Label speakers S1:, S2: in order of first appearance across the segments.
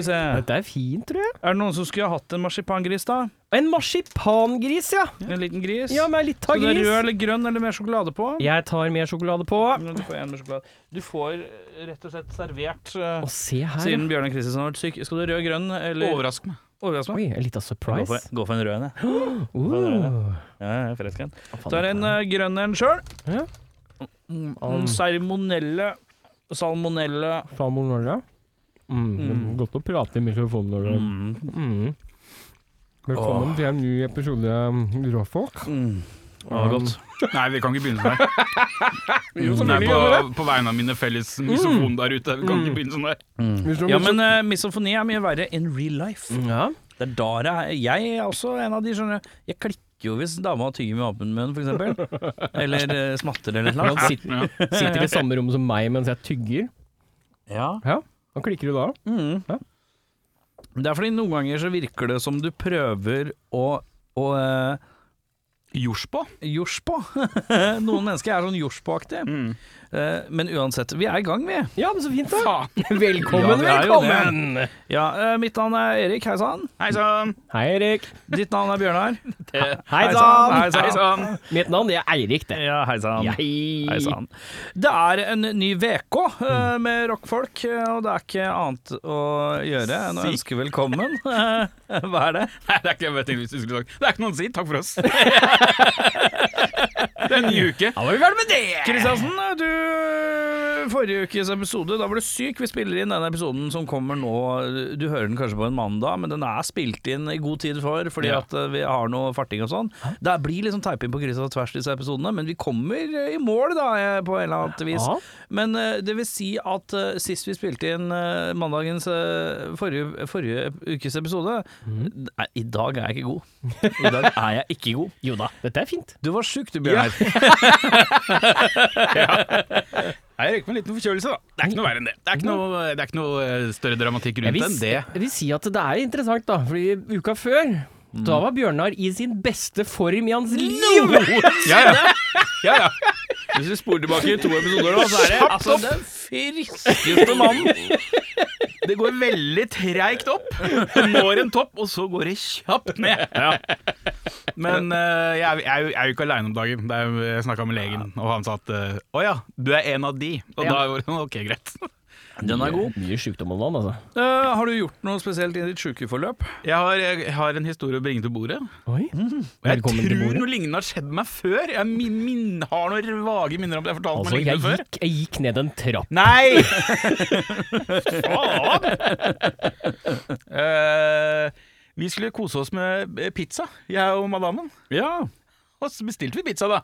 S1: se. Er
S2: Dette er fint, tror jeg.
S1: det noen som skulle ha hatt en marsipangris, da?
S2: En marsipangris, ja.
S1: En liten gris?
S2: Ja, med litt av
S1: Skal du ha rød
S2: gris.
S1: eller grønn eller mer sjokolade på?
S2: Jeg tar mer sjokolade på.
S1: Men Du får en med sjokolade. Du får eh, rett og slett servert eh,
S2: Og se her.
S1: Siden Bjørnar Kristiansen har vært syk. Skal du rød, grønn eller
S3: Overrask meg.
S1: Overrask meg.
S2: Oi, en liten
S1: Gå
S2: surprise.
S1: for, gå for en rød en, jeg.
S2: Uh.
S1: Ja, jeg er frisk en. Tar en eh, grønn en sjøl.
S2: Ja.
S1: Mm, Salmonelle. Salmonelle.
S2: Salmonella. Mm.
S1: Mm.
S2: Godt å prate i mikrofonen når du
S1: Mm.
S2: mm. Velkommen til en ny episode um, Råfolk.
S1: Mm. Det var godt.
S3: Nei, vi kan ikke begynne sånn her.
S2: Jo,
S3: Nei,
S2: selvfølgelig
S3: på,
S2: gjør
S3: på vegne av mine felles misofon der ute. Vi kan
S2: Mm.
S3: ikke begynne sånn her.
S2: Hvis du-
S1: Ja, men eh, misofoni er mye verre in real life.
S2: Ja.
S1: Det er da det er Jeg er også en av de, skjønner du. Jeg klikker jo hvis dama tygger med apenmunn, for eksempel. Eller eh, smatter eller noe.
S2: Han sitter,
S3: Ja.
S2: sitter i samme rom som meg mens jeg tygger.
S1: Ja.
S2: Hva klikker du da?
S1: Mm.
S2: Ja.
S1: Det er fordi noen ganger så virker det som du prøver å, å eh,
S3: Jorspå?
S1: jors på. noen mennesker er sånn jors på-aktig.
S3: Mm.
S1: Eh, men uansett, vi er i gang, vi.
S2: Ja, men så fint, da.
S3: Faen.
S1: Ja,
S2: Velkommen,
S1: det er jo det.
S2: velkommen!
S1: Ja, eh, mitt navn er Erik, hei sann.
S3: Hei sann.
S2: Hei, Erik.
S1: Ditt navn er Bjørnar.
S2: Hei
S1: Hei sann,
S2: sann!
S3: Hei sann.
S2: Mitt navn er Eirik, det.
S1: Ja, hei sann. Hei
S2: Hei
S1: sann. Det er en ny VK eh, med rockfolk, eh, og det er ikke annet å gjøre enn å
S3: Si.
S1: ønske velkommen. Eh, Hva er det?
S3: Nei, det er ikke jeg vet ikke hvis du skulle sagt. Det er ikke noe å si. Takk for oss. Det er en ny uke.
S1: Da var vi ferdig med det! Kristiansen, du Forrige ukes episode, da var du syk. Vi spiller inn den episoden som kommer nå. Du hører den kanskje på en mandag, men den er spilt inn i god tid for, fordi
S3: Ja.
S1: at eh, vi har noe farting og sånn. Det blir liksom teiping på kryss og tvers disse episodene, men vi kommer eh, i mål, da, eh, på et eller annet vis.
S2: Ja.
S1: Men eh, det vil si at eh, sist vi spilte inn eh, mandagens eh, forrige, forrige ukes episode
S2: Mm.
S1: Nei, i dag er jeg ikke god. I dag er jeg ikke god.
S2: Jo da, dette er fint.
S1: Du var sjuk, du, Bjørnar.
S3: Jeg røyker med en liten forkjølelse, da. Det er ikke noe verre enn det. Det er ikke noe, det er ikke noe eh, større dramatikk
S2: Jeg
S3: rundt
S2: vil,
S3: enn det.
S2: jeg vil si at det er interessant, da. Fordi uka før,
S1: Mm.
S2: da var Bjørnar i sin beste form i hans liv!
S3: Ja, ja. ja, ja. Hvis vi spoler tilbake to episoder nå, så er det altså,
S1: den friskeste mannen.
S3: Det går veldig treigt opp. Når en topp, og så går det kjapt ned. Men eh, jeg, er- jeg, er jo- jeg er jo ikke aleine om dagen. Det er, jo- jeg snakka med legen, og han sa at eh, å ja, du er en av de. Og da var det sånn, ok, greit.
S1: Den er god.
S2: Mye sjukdom om dagen, altså.
S1: Eh, har du gjort noe spesielt i ditt sjukeforløp?
S3: Jeg har, jeg har en historie å bringe til bordet.
S2: Oi.
S3: Og jeg
S2: Velkommen til
S3: tror
S2: bordet.
S3: noe lignende har skjedd meg før. Jeg min, min, har noen vage minner om det jeg fortalte
S2: Altså,
S3: meg
S2: jeg
S3: lignende før.
S2: gikk, jeg gikk ned en trapp.
S3: Nei! Faen! Eh, vi skulle kose oss med pizza, jeg og madammen.
S1: Ja.
S3: Og så bestilte vi pizza, da.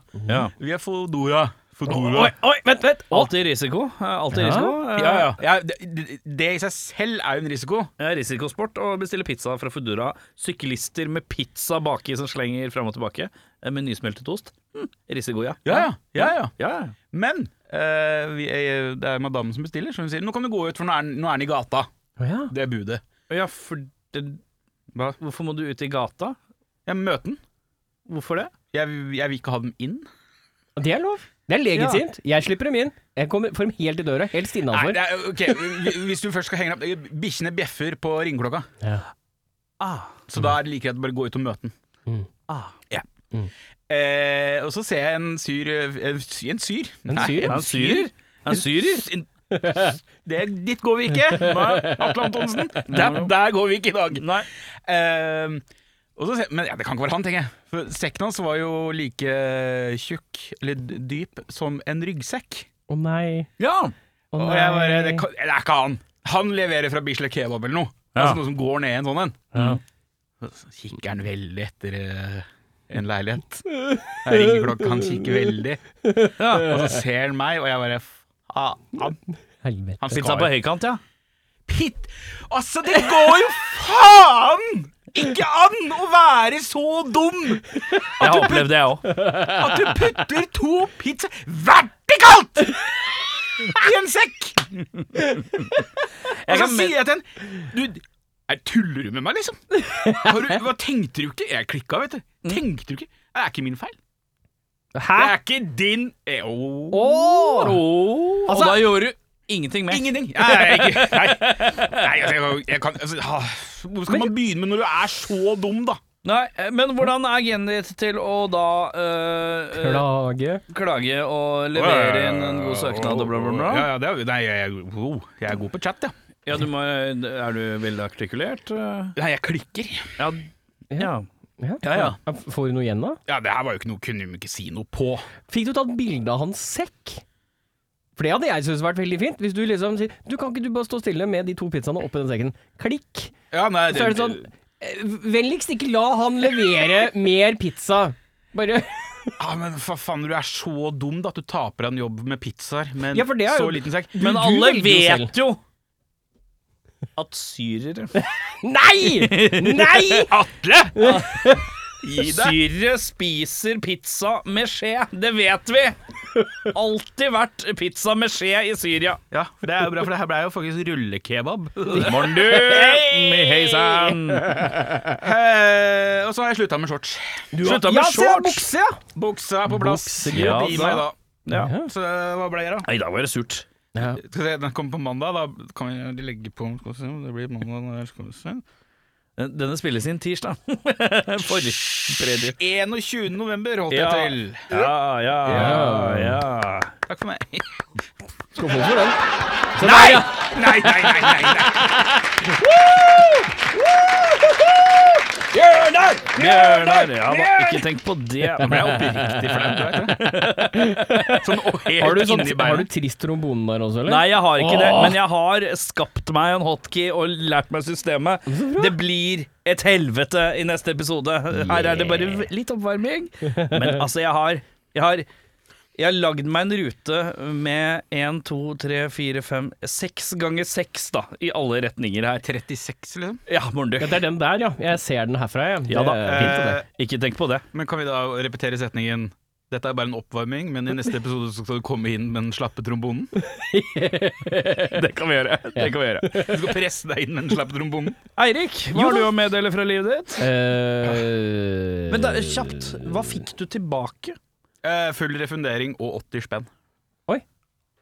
S3: Via Fodora. Fodora.
S2: Oi, oi, vent, vent! Å,
S1: Alltid risiko. Eh, Alltid
S2: Ja.
S1: risiko. Eh,
S3: Ja, ja. ja det, det- det i seg selv er jo en risiko.
S1: eh, Risikosport å bestille pizza fra Foodora. Syklister med pizza baki som slenger fram og tilbake eh, med nysmeltet ost. Hm, risiko, ja.
S3: Ja, ja, ja.
S1: Ja,
S3: Men eh, vi, eh, det er madammen som bestiller, så hun sier 'nå kan du gå ut, for nå er, den- nå er den i gata'.
S2: Å ja.
S3: Det er budet.
S1: ja for det,
S3: Hva?
S1: Hvorfor må du ut i gata?
S3: Jeg møter den.
S1: Hvorfor det?
S3: Jeg, jeg vil ikke ha dem inn.
S2: Det er lov. Det er legitimt. Jeg slipper dem inn. Jeg kommer, får dem helt i døra, helst
S3: Nei,
S2: innafor.
S3: det er, ok, hvi- Hvis du først skal henge deg opp Bikkjene bjeffer på ringeklokka,
S2: Ja.
S3: så da er det like greit å bare gå ut og møte den.
S2: Mm.
S1: Ah.
S3: Ja.
S2: Mm.
S3: Eh, og så ser jeg en syr En syr? En syr?
S2: En
S3: Nei,
S2: syr, ja.
S1: En syrer? En syrer?
S3: En- Det, dit går vi ikke! Nei, Atle Antonsen. Der, der går vi ikke i dag.
S1: Nei.
S3: Ehm, og så, ser- men ja, det kan ikke være han, tenker jeg. For sekken hans var jo like tjukk, eller d- dyp, som en ryggsekk.
S2: Å nei.
S1: Ja.
S2: Å
S3: Og
S2: nei.
S3: jeg bare det, kan, det er ikke han! Han leverer fra Bislett Kebab eller noe.
S1: Ja.
S3: Altså noe som går ned i en sånn en.
S1: Ja.
S3: Så kikker han veldig etter eh, en leilighet. Jeg ringer klokka, han kikker veldig. Og så ser han meg, og jeg bare faen. Han,
S2: Helvete.
S3: han
S1: Pizza
S3: skal
S1: på høykant, ja.
S3: Pitt Altså, det går jo faen ikke an å være så dum
S1: Jeg har opplevd det, jeg òg.
S3: at du putter to pizza vertikalt i en sekk! Og så
S1: kan men-
S3: sier jeg til en Du, er, tuller du med meg, liksom? Har du, hva tenkte du ikke? Jeg klikka, vet du.
S1: Mm.
S3: Tenkte du ikke? Det er ikke min feil.
S2: Hæ?
S3: Det er ikke din eh, oh.
S2: Å!
S1: Og
S2: Altså-
S1: da gjorde du ingenting med.
S3: Ingenting! Nei, jeg, jeg, ikke- nei. nei altså, jeg, jeg kan altså, ha, Hvor skal man begynne med når du er så dum, da?
S1: Nei, eh, Men hvordan er genet ditt til å da eh, eh,
S2: Klage.
S1: klage og levere inn en god søknad og bla, bla, bla?
S3: Ja, ja, det er, nei, jeg, jeg, oh, jeg er god på chat, ja.
S1: Ja, du må, er du veldig artikulert? eh?
S3: Nei, jeg klikker.
S1: Ja. ja. Ja, ja.
S2: Får du noe igjen, da?
S3: Ja, Det her var jo ikke noe kunne vi ikke si noe på.
S2: Fikk du tatt bilde av hans sekk? For det hadde jeg syntes vært veldig fint. Hvis du liksom sier Du kan ikke du bare stå stille med de to pizzaene oppi den sekken? Klikk.
S3: Ja, nei,
S2: Så er det sånn eh, Vennligst ikke la han levere mer pizza. Bare
S3: Ja, men fa faen, du er så dum da at du taper deg en jobb med pizzaer med en
S2: Ja, for det er
S3: så
S2: jo-
S3: liten sekk.
S1: Men
S2: Du
S1: alle
S2: velger jo selv.
S1: vet jo at syrere
S2: Nei! Nei!
S3: Atle!
S1: Syrere spiser pizza med skje. Det vet vi! Alltid vært pizza med skje i Syria.
S3: Ja, det er jo bra, for det her ble jo faktisk rullekebab.
S1: Morn, du! Hei sann!
S3: Eh, og så har jeg slutta med shorts.
S1: Slutta
S2: Ja,
S1: med
S2: se
S1: shorts!
S2: bukse, ja!
S3: Buksa er på plass.
S2: Buksegutt.
S3: Ja,
S1: Ja,
S3: Gi
S1: da.
S3: meg da.
S1: Ja.
S3: Så eh, hva ble jeg, da?
S1: Nei, I dag var det surt.
S3: Skal vi se, Den kommer på mandag. Da kan vi legge på om skal vi se, Det blir mandag når jeg skal se.
S1: Den- Denne spilles inn tirsdag. Forrige fredag.
S3: 21. november holdt
S1: Ja.
S3: jeg til.
S1: Ja, ja,
S2: Ja.
S1: ja.
S3: Takk for meg.
S2: Skal få for den.
S3: Nei! Nei, nei, nei, nei, nei.
S2: Bjørnar!
S1: Bjørnar! Ja da, ikke tenk på det.
S3: Da ble jeg oppriktig flau. Sånn og helt
S2: Har du, sånn,
S3: inni
S2: har
S3: beinet.
S2: du trist trombone der også, eller?
S1: Nei, jeg har ikke det,
S2: Åh.
S1: men jeg har skapt meg en hotkey og lært meg systemet. Det blir et helvete i neste episode. Her er det bare v- litt oppvarming. Men altså, jeg har Jeg har, jeg har lagd meg en rute med 1, 2, 3, 4, 5, 6 ganger 6 da, i alle retninger her.
S3: 36, liksom?
S1: Ja, morn du.
S2: Ja, det er den der, ja. Jeg ser den herfra, jeg.
S1: Ja da.
S2: Det er fint, det.
S1: Ikke tenk på det.
S3: Men kan vi da repetere setningen Dette er bare en oppvarming, men i neste episode så skal du komme inn med den slappe trombonen?
S1: Det kan vi gjøre. Det kan vi gjøre.
S3: Du skal presse deg inn med den slappe trombonen?
S1: Eirik, hva har du å meddele fra livet ditt?
S2: Eh,
S1: Men da, kjapt, hva fikk du tilbake?
S3: Eh, full refundering og 80 spenn.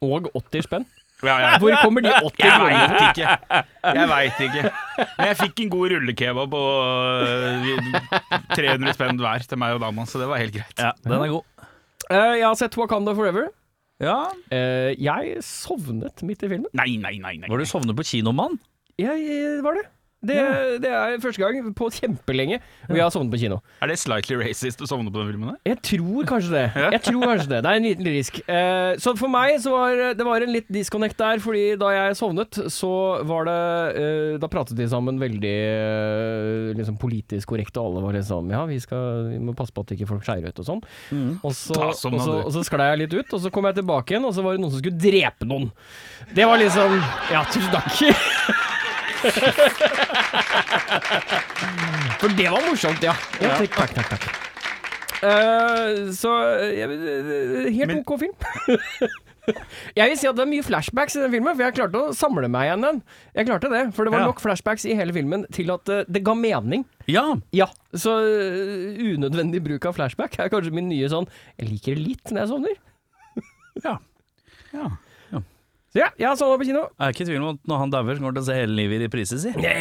S2: Og 80 spenn.
S3: Ja, ja.
S2: Hvor kommer de 80
S3: Jeg
S2: kronene?
S3: veit ikke. Jeg veit ikke. Men jeg fikk en god rullekebab på eh, 300 spenn hver til meg og dama, så det var helt greit.
S1: Ja, den er god.
S2: Eh, jeg har sett Wakanda Forever.
S1: Ja,
S2: Eh, jeg sovnet midt i filmen.
S3: Nei, nei, nei. nei.
S1: Var du sovnet på kinomann?
S2: Jeg eh, var det. Det, det er første gang på kjempelenge hvor jeg har sovnet på kino.
S3: Er det slightly racist å sovne på den filmen? der?
S2: Jeg tror kanskje det. Jeg tror kanskje Det Det er en liten risk. Eh, så for meg så var det var en litt disconnect der, fordi da jeg sovnet, så var det eh, Da pratet de sammen veldig eh, liksom politisk korrekt, og alle var litt sånn Ja, vi, skal, vi må passe på at ikke folk skeier ut og sånn. Og, så,
S3: Da
S2: og, så,
S3: sovna du.
S2: og så sklei jeg litt ut, og så kom jeg tilbake igjen, og så var det noen som skulle drepe noen. Det var liksom Ja, tusen takk. For det var morsomt, ja. ja takk, takk, takk, takk. Eh, så jeg, eh, Helt
S3: Men-
S2: ok film. jeg vil si at det er mye flashbacks i den filmen, for jeg klarte å samle meg igjen den. Jeg klarte det, for det var
S1: Ja.
S2: nok flashbacks i hele filmen til at eh, det ga mening.
S1: Ja.
S2: Ja, Så eh, unødvendig bruk av flashback er kanskje min nye sånn Jeg liker det litt når jeg sovner.
S1: Ja.
S3: Ja.
S2: Så ja, jeg har sovna på kino.
S1: Jeg er ikke i tvil om at når han dauer, så kommer han til å se hele livet i reprise, si. Nei,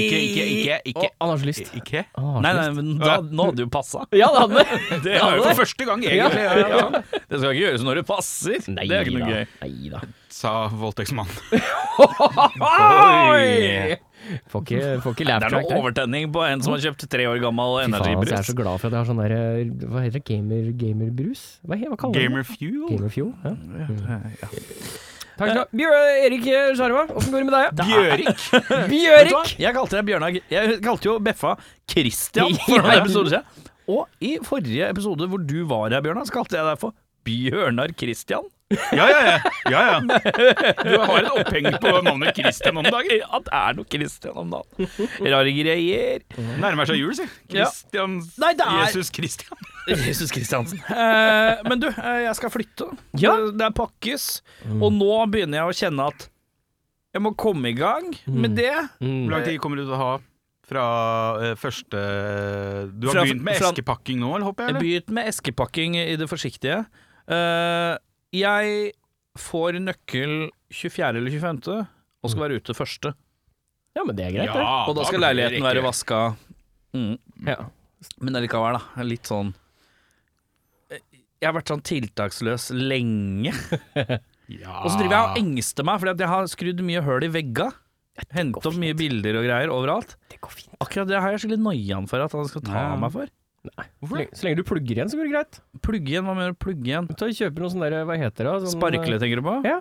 S3: Ikke, ikke, ikke.
S2: Å,
S3: ikke.
S2: han har så lyst.
S3: Ikke?
S2: Han har så
S1: nei,
S2: lyst.
S1: men da, nå hadde det jo passa.
S2: Ja, det hadde det.
S1: Det
S3: Det er jo for første gang, egentlig. Ja, ja, ja.
S1: Det skal ikke gjøres når det passer. det er ikke noe gøy.
S2: Nei da.
S3: Sa voldtektsmannen.
S2: Oi! Får ikke, får ikke
S1: Det
S2: laugh
S1: er
S2: track
S1: noe
S2: der.
S1: overtenning på en som har kjøpt tre år gammel
S2: Fy faen, altså, jeg er
S1: energibrus.
S2: så glad for at jeg har sånn der eh, Hva heter det? Gamer, gamerbrus? Hva, he- hva kaller man det?
S3: Gamer fuel.
S2: Gamerfuel? Ja. Mm. Takk skal du ha. Bjør- Erik Skjerva, åssen går det med deg?
S3: Bjørik.
S2: ja?
S1: Vet du hva?
S2: Bjørik!
S1: Jeg kalte deg Bjørnar Jeg kalte jo Beffa Christian for
S2: Ja.
S1: noen episoder siden. Og i forrige episode hvor du var her, Bjørnar, så kalte jeg deg for Bjørnar Christian.
S3: Ja, ja, ja. ja, ja. Du har et oppheng på navnet Christian om dagen.
S1: Ja, det er noe Christian om dagen. Rare greier.
S3: Nærmer seg jul, si.
S1: Ja.
S3: Christian
S1: Nei, det er-
S3: Jesus Christian.
S1: Jesus Kristiansen. Eh, men du, eh, jeg skal flytte.
S2: Ja.
S1: Det, det er pakkes. Og nå begynner jeg å kjenne at jeg må komme i gang med det.
S2: Mm.
S3: Hvor lang tid kommer du til å ha fra eh, første Du har
S1: Fra-
S3: begynt med
S1: fra-
S3: eskepakking nå, eller håper jeg?
S1: Jeg
S3: Eller?
S1: begynte med eskepakking i det forsiktige. Eh, jeg får nøkkel 24. eller 25. og skal være ute første.
S2: Ja, men det er greit,
S1: Og da skal
S3: blir det
S1: leiligheten
S3: ikke-
S1: være vaska. Mm.
S2: det. Ja.
S1: Men allikevel, da. Litt sånn Jeg har vært sånn tiltaksløs lenge.
S3: Ja.
S1: Og så driver
S3: Ah.
S1: jeg og engster meg, fordi at jeg har skrudd mye høl i vegga. Hentet opp mye bilder og greier overalt.
S2: Det går fint.
S1: Akkurat det har jeg skikkelig noiaen for at han skal ta
S3: Ja.
S1: meg for.
S2: Så lenge, så lenge du plugger igjen, så går det greit.
S1: Plugge igjen, hva mener du? Plugge igjen?
S2: Ta og Kjøper noe sånn der, hva heter det? Sånn,
S3: eh,
S1: Sparkle, tenker du på?
S2: Ja.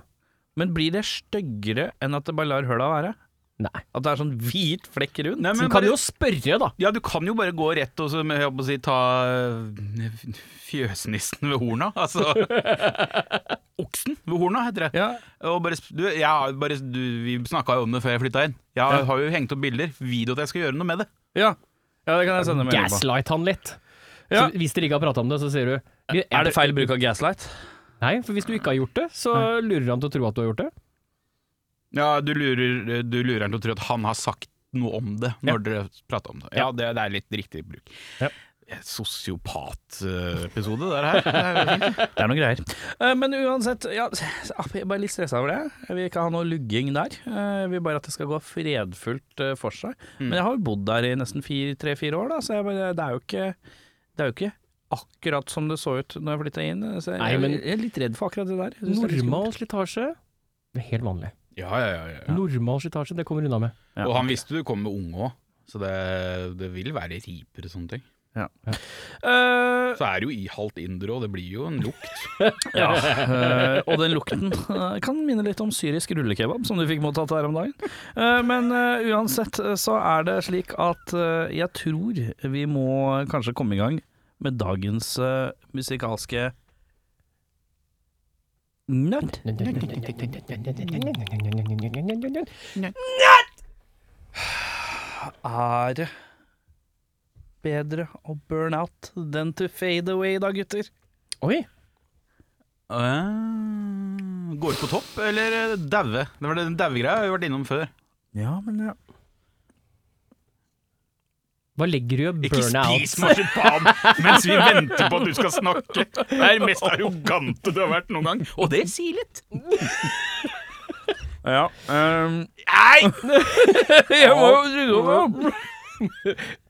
S1: Men blir det styggere enn at det bare lar høla være?
S2: Nei.
S1: At det er sånn hvit flekk rundt?
S3: Nei,
S2: Så du
S3: men
S2: kan
S3: bare-
S2: jo spørre, da.
S3: Ja, du kan jo bare gå rett og så, jeg holdt på å si, ta eh, fjøsnissen ved horna. Altså oksen ved horna, heter det.
S1: Ja.
S3: Og bare, sp- du, jeg har bare, du, vi snakka jo om det før jeg flytta inn. Jeg
S1: Ja.
S3: har jo hengt opp bilder, video at jeg skal gjøre noe med det.
S1: ja. Ja, det kan jeg sende melding på.
S2: Gaslight han litt.
S1: Ja.
S2: Så hvis dere ikke har prata om det, så sier du
S1: Er det feil bruk av gaslight?
S2: Nei, for hvis du ikke har gjort det, så lurer han til å tro at du har gjort det.
S3: Ja, du lurer, du lurer han til å tro at han har sagt noe om det når dere prater om det. Ja, det, det er litt riktig bruk.
S2: Ja.
S3: Sosiopat-episode, det her. Det er jo fint.
S1: Det er noen greier. Eh, men uansett, ja, ah, jeg er bare litt stressa over det. Jeg vil ikke ha noe lugging der. Eh, Jeg vil bare at det skal gå fredfullt eh, for seg.
S2: Mm.
S1: Men jeg har jo bodd der i nesten tre-fire år, da, så jeg bare, det, er jo ikke, det er jo ikke akkurat som det så ut når jeg flytta inn. Så jeg,
S2: Nei, men-
S1: jeg er litt redd for akkurat det der. Jeg synes det er litt skummelt.
S2: Normal slitasje det er helt vanlig.
S3: Ja, ja, ja, ja.
S2: Normal slitasje, det kommer unna med.
S1: Ja.
S3: Og han visste du kom med unge òg, så det, det vil være riper og sånne ting.
S1: Eh,
S3: Så er det jo i halvt indre, og det blir jo en lukt.
S1: ja, eh, og den lukten eh, kan minne litt om syrisk rullekebab, som du fikk mottatt her om dagen. Eh, men eh, uansett eh, så er det slik at eh, jeg tror vi må kanskje komme i gang med dagens eh, musikalske Nøtt. Er det bedre å burn out than to fade away da, gutter?
S2: Oi!
S3: Eh, Gå ut på topp, eller eh, daue? Det var den daue-greia vi har vært innom før.
S1: Ja, men ja.
S2: Hva legger du i å
S3: Ikke
S2: burn
S3: spis
S2: out?
S3: marsipan mens vi venter på at du skal snakke! Det er det mest arrogante du har vært noen gang, og det sier litt.
S1: ja ehm,
S3: Nei!
S1: jeg må jo rydde opp! da.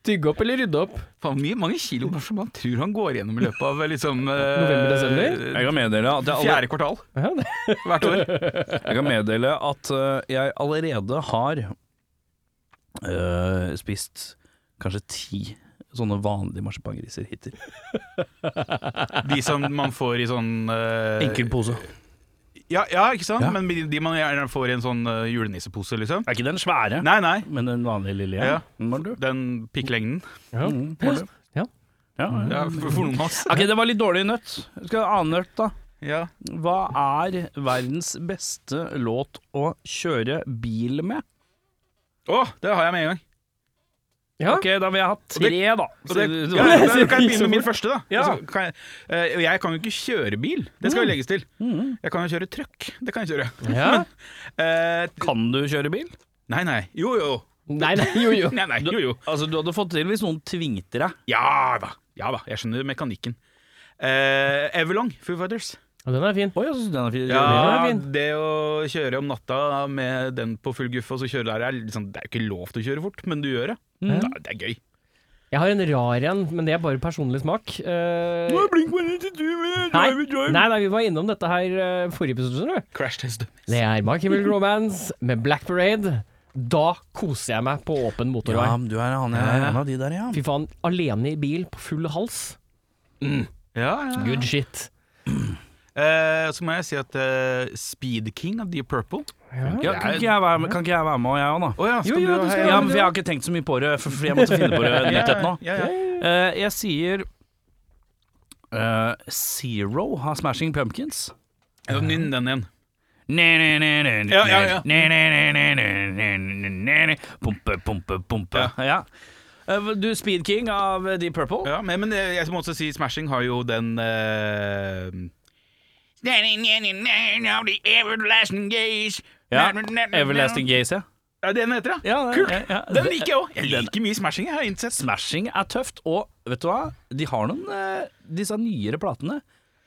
S2: Tygge opp eller rydde opp?
S3: Faen, mye mange kilo marsipan tror han går gjennom i løpet av liksom
S2: November-desember?
S1: Jeg kan meddele at jeg allerede
S3: Fjerde kvartal
S2: Ja, det-
S3: hvert år.
S1: Jeg kan meddele at øh, jeg allerede har øh, spist kanskje ti sånne vanlige marsipangriser hittil.
S3: De som man får i sånn eh,
S1: Enkel pose.
S3: Ja, ja ikke sant?
S1: Ja.
S3: Men de, de man gjerne får i en sånn eh, julenissepose, liksom.
S1: Er ikke den svære,
S3: Nei, nei.
S1: men den vanlige lille.
S3: Ja.
S1: Den var du.
S3: Den pikklengden.
S2: Ja.
S1: Mm, var du.
S2: Ja.
S1: Ja, ja.
S3: Ja, for, for noen av oss.
S1: Ok, det var litt dårlig nøtt. Skal jeg ha annen nøtt, da?
S3: Ja.
S1: Hva er verdens beste låt å kjøre bil med?
S3: Å, det har jeg med en gang.
S2: Ja.
S1: Ok, da vil jeg ha tre, da.
S3: Og det,
S1: Så-
S3: ja, da kan jeg begynne med min første, da.
S1: Ja.
S3: Altså, kan jeg, eh, jeg kan jo ikke kjøre bil, det skal jo legges til. Jeg kan jo kjøre truck, det kan jeg kjøre.
S2: Ja.
S3: Eh,
S1: Kan du kjøre bil?
S3: nei, nei. Jo, jo.
S2: Nei, nei, jo, jo.
S3: Nei, nei, jo, jo.
S1: Altså, du hadde fått til hvis noen tvingte deg.
S3: Ja da. Ja da, jeg skjønner mekanikken. Eh, Everlong, Foo Fighters.
S2: Ja, Den er fin.
S1: Å ja, så den er fin.
S3: Ja,
S2: den er
S3: det å kjøre om natta med den på full guffe, og så kjøre der, er liksom, det er jo ikke lov til å kjøre fort, men du gjør det.
S1: Mm.
S3: Da, det er gøy.
S2: Jeg har en rar en, men det er bare personlig smak. Eh, nei,
S1: Nei.
S2: nei, nei, vi var innom dette her eh, forrige episode, skjønner du.
S3: Crash test.
S2: Det er My Chemical Romance med Black Parade. Da koser jeg meg på åpen motorvei.
S1: Ja, men du er han, jeg er en av de der, ja.
S2: Fy faen, alene i bil på full hals.
S3: Ja, ja.
S2: Good shit.
S3: Eh, så må jeg si at eh, Speed King av Deep Purple
S1: ja kan, ikke jeg være med, kan ikke jeg være med, jeg òg, da?
S3: Å ja,
S2: Jo, jo, du skal
S1: Ja,
S3: ja,
S1: men for Jeg har ikke tenkt så mye på det, for, fordi jeg måtte finne på det nytt nå.
S3: ja, ja.
S1: Eh, jeg sier eh, Zero har Smashing Pumpkins.
S3: Ja, Nynn den igjen. Ja, ja, ja.
S1: Pumpe, pumpe, pumpe. Ja. Eh, Du, Speed King av eh, Deep Purple.
S3: Ja, men, men jeg må også si Smashing har jo den eh,
S1: Ja. Everlasting Gaze, ja.
S3: Ja, den heter det.
S1: ja det-
S3: Kult.
S1: ja, ja.
S3: Den liker jeg òg. Jeg liker mye Smashing, jeg har innsett.
S1: Smashing er tøft, og vet du hva? De har noen eh, Disse nyere platene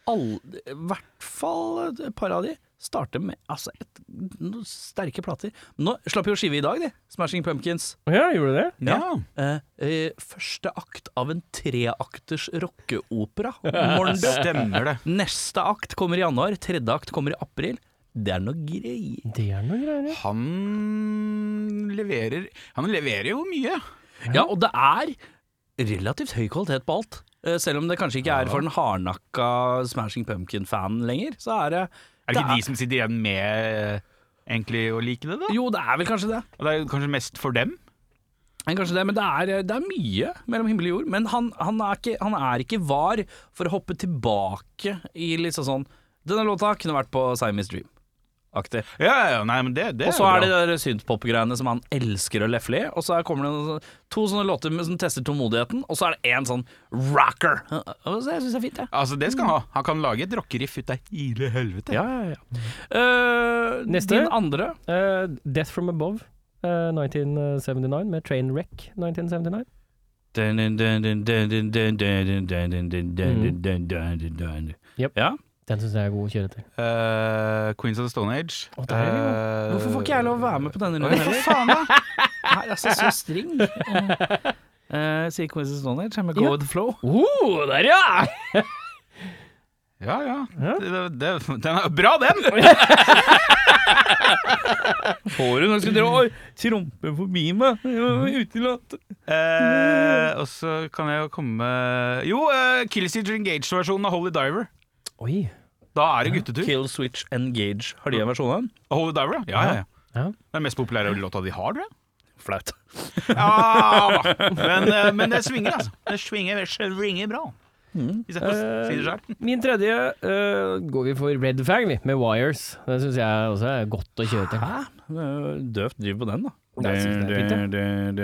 S1: all, I hvert fall et par av de starte med altså, et, noen sterke plater. Nå slapp jo skive i dag, de. Smashing Pumpkins.
S2: Ja, gjorde du det?
S3: Ja.
S1: Eh, eh, første akt av en treakters rockeopera. Morn du.
S3: Stemmer det.
S1: Neste akt kommer i januar, tredje akt kommer i april. Det er noe greier.
S2: Det er noe greier. ja.
S3: Han leverer Han leverer jo mye.
S1: Ja, og det er relativt høy kvalitet på alt. Eh, Selv om det kanskje ikke er for den hardnakka Smashing Pumpkin-fanen lenger, så er det
S3: Er det ikke de som sitter igjen med eh, egentlig å like det, da?
S1: Jo, det er vel kanskje det.
S3: Og Det er kanskje mest for dem?
S1: Men Kanskje det, men det er, eh, det er mye mellom himmel og jord. Men han, han, er ikke, han er ikke var for å hoppe tilbake i liksom sånn Denne låta kunne vært på Siamese Dream-aktig.
S3: Ja, ja, ja, nei, men det, det
S1: Og så er det
S3: jo bra.
S1: de der synthpop-greiene som han elsker å lefle i. Og så er- kommer det noen sånne- to sånne låter med- som tester tålmodigheten, og så er det én sånn rocker. Og så jeg syns det er fint, jeg.
S3: Altså, det skal han ha. Han kan lage et rockeriff ut av hele helvete.
S1: Ja, ja, ja. Eh,
S2: Neste.
S1: Din andre.
S2: Eh, Death From Above, eh, 1979, med Trainwreck 1979. Jep.
S1: Ja.
S2: Den syns jeg er god å kjøre etter.
S3: Eh, Queens of the Stone Age.
S2: Å, der er det jo.
S3: Eh,
S1: Hvorfor får ikke jeg lov å være med på denne
S3: Oi,
S1: runden
S3: for
S1: heller?
S3: faen da!
S1: Nei, altså, så streng. Eh, sier Quincy Stone Age, med Go
S2: Ja.
S1: with the Flow.
S2: Oh, der, ja!
S3: Ja, ja.
S2: Ja.
S3: Det, det, den er bra, den!
S1: Får hun, skal dere oi, trompe forbi meg?
S2: Mhm.
S1: Utelatt.
S3: Eh, og så kan jeg jo komme Jo, uh, Killseed Engage-versjonen av Holy Diver.
S2: Oi.
S3: Da er det guttetur.
S1: Kill, Switch, Engage. Har de en versjon av den?
S3: Av Holy Diver, ja. ja, ja, ja.
S2: Ja.
S3: Det er den mest populære låta de har, tror jeg.
S1: Flaut.
S3: Ja, da. men, eh, men det svinger, altså. Det svinger, det svinger bra. Hvis jeg får
S2: Eh,
S3: si det sjøl.
S2: Min tredje eh, går vi for Red Fag, vi, med Wires. Den syns jeg også er godt å kjøre etter.
S1: Hæ? Døvt driver på den, da.
S2: Nei, jeg synes det er fint, Å,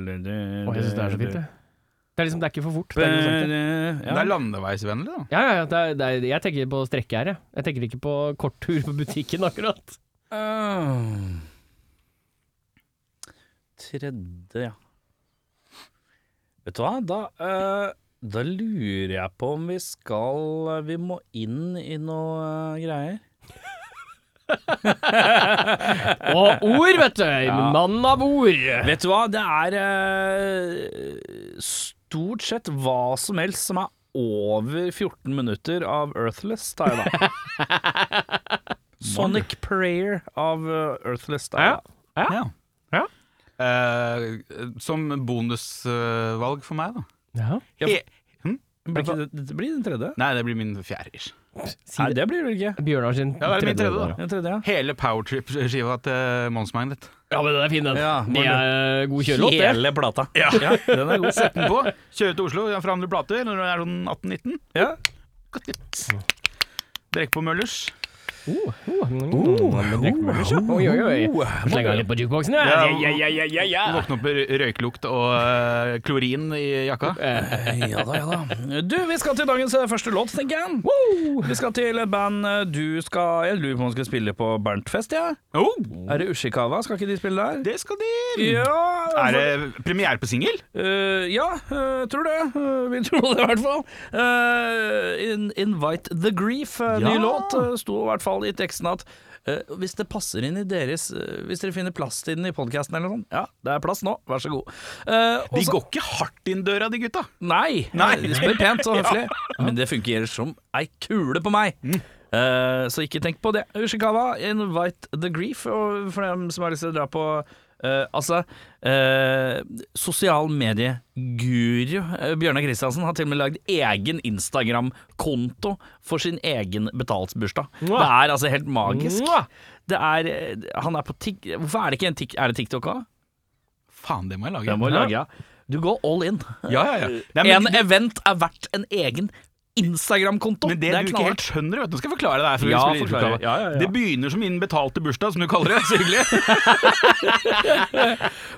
S2: jeg syns det er så fint, det. Det er liksom, det er ikke for fort. Det er, ikke for sent, det.
S3: Det
S1: Ja.
S3: er landeveisvennlig, da.
S2: ja, ja, ja, det er, det er, jeg tenker på strekke her, jeg. Jeg tenker ikke på kort tur på butikken, akkurat.
S1: Øhm. Tredje, ja. Vet du hva, da, eh, da lurer jeg på om vi skal eh, Vi må inn i noe eh, greier.
S2: Og ord, vet du! Mann av ord!
S1: Vet du hva, det er eh, stort sett hva som helst som er over 14 minutter av Earthless, tar jeg da. Sonic Prayer av eh, Earthless, tar jeg da.
S3: Ja.
S2: Ja.
S3: Eh, som bonusvalg for meg, da.
S2: Ja.
S1: Ja,
S3: He- hm?
S1: Blir ikke det, det blir den tredje?
S3: Nei, det blir min fjerde. ish.
S2: Si
S1: Nei, det blir det vel ikke.
S2: Bjørnar sin
S3: Ja, det er min tredje, da.
S1: Den tredje, ja.
S3: Hele Powertrip-skiva til Mons Magnet.
S2: Ja, men den er fin, den.
S1: Ja,
S2: det er god kjørelåt, det.
S1: Hele plata. Ja. den er god.
S3: Sett den på, kjøre til Oslo, forandre plater når du er sånn 18-19.
S1: Ja.
S3: Drikke på Møllers.
S2: Oh, oh,
S1: Mm,
S2: oh, oi, oi, oi. Slenga litt på jukeboksen, ja.
S3: Ja,
S2: ja, ja, ja, ja, ja.
S3: Våkne opp med rø- røyklukt og eh, klorin i jakka.
S1: ja da, ja da. Du, vi skal til dagens eh, første låt, tenker jeg. Vi skal til et band eh, du skal Jeg lurer på om du skal spille på Berntfest, jeg. Ja.
S3: Oh,
S1: Er det Ushikawa? Skal ikke de spille der?
S3: det skal de!
S1: Ja,
S3: Er det premiere på singel?
S1: Eh, ja eh, tror det. Eh, vi tror det, i hvert fall. Eh, in, 'Invite the Grief', eh, ny
S3: Ja.
S1: låt, uh, sto i hvert fall i teksten at eh, hvis det passer inn i deres eh, Hvis dere finner plass til den i podkasten eller noe sånt, ja, det er plass nå, vær så god. Eh, og
S3: De
S1: så-
S3: går ikke hardt inn døra, de gutta.
S1: Nei!
S3: Nei.
S1: De spiller pent og høflig. Men det fungerer som ei kule på meg.
S3: Mm.
S1: Eh, så ikke tenk på det. Ushikawa, invite the grief. Og for dem som har lyst til å dra på eh, Altså, eh, sosial medie-guru eh, Bjørnar Kristiansen har til og med lagd egen Instagram-konto for sin egen betaltsbursdag. Det er altså helt magisk.
S2: Mwah!
S1: Det er eh, Han er på tik... Hvorfor er det ikke en tik... Er det TikTok òg?
S3: Faen, det må jeg lage.
S1: Den må
S3: Ja.
S1: lage. Du går all in.
S3: Ja, ja, ja. Nei,
S1: En
S3: men,
S1: event er verdt en egen Instagram-konto.
S3: men det, du ikke helt skjønner, vet du. Nå skal jeg forklare deg. før vi
S1: Ja,
S3: spiller
S1: forklare.
S3: innspillet.
S1: Ja, ja, ja.
S3: Det begynner som innen betalte bursdag, som du kaller det. Så hyggelig.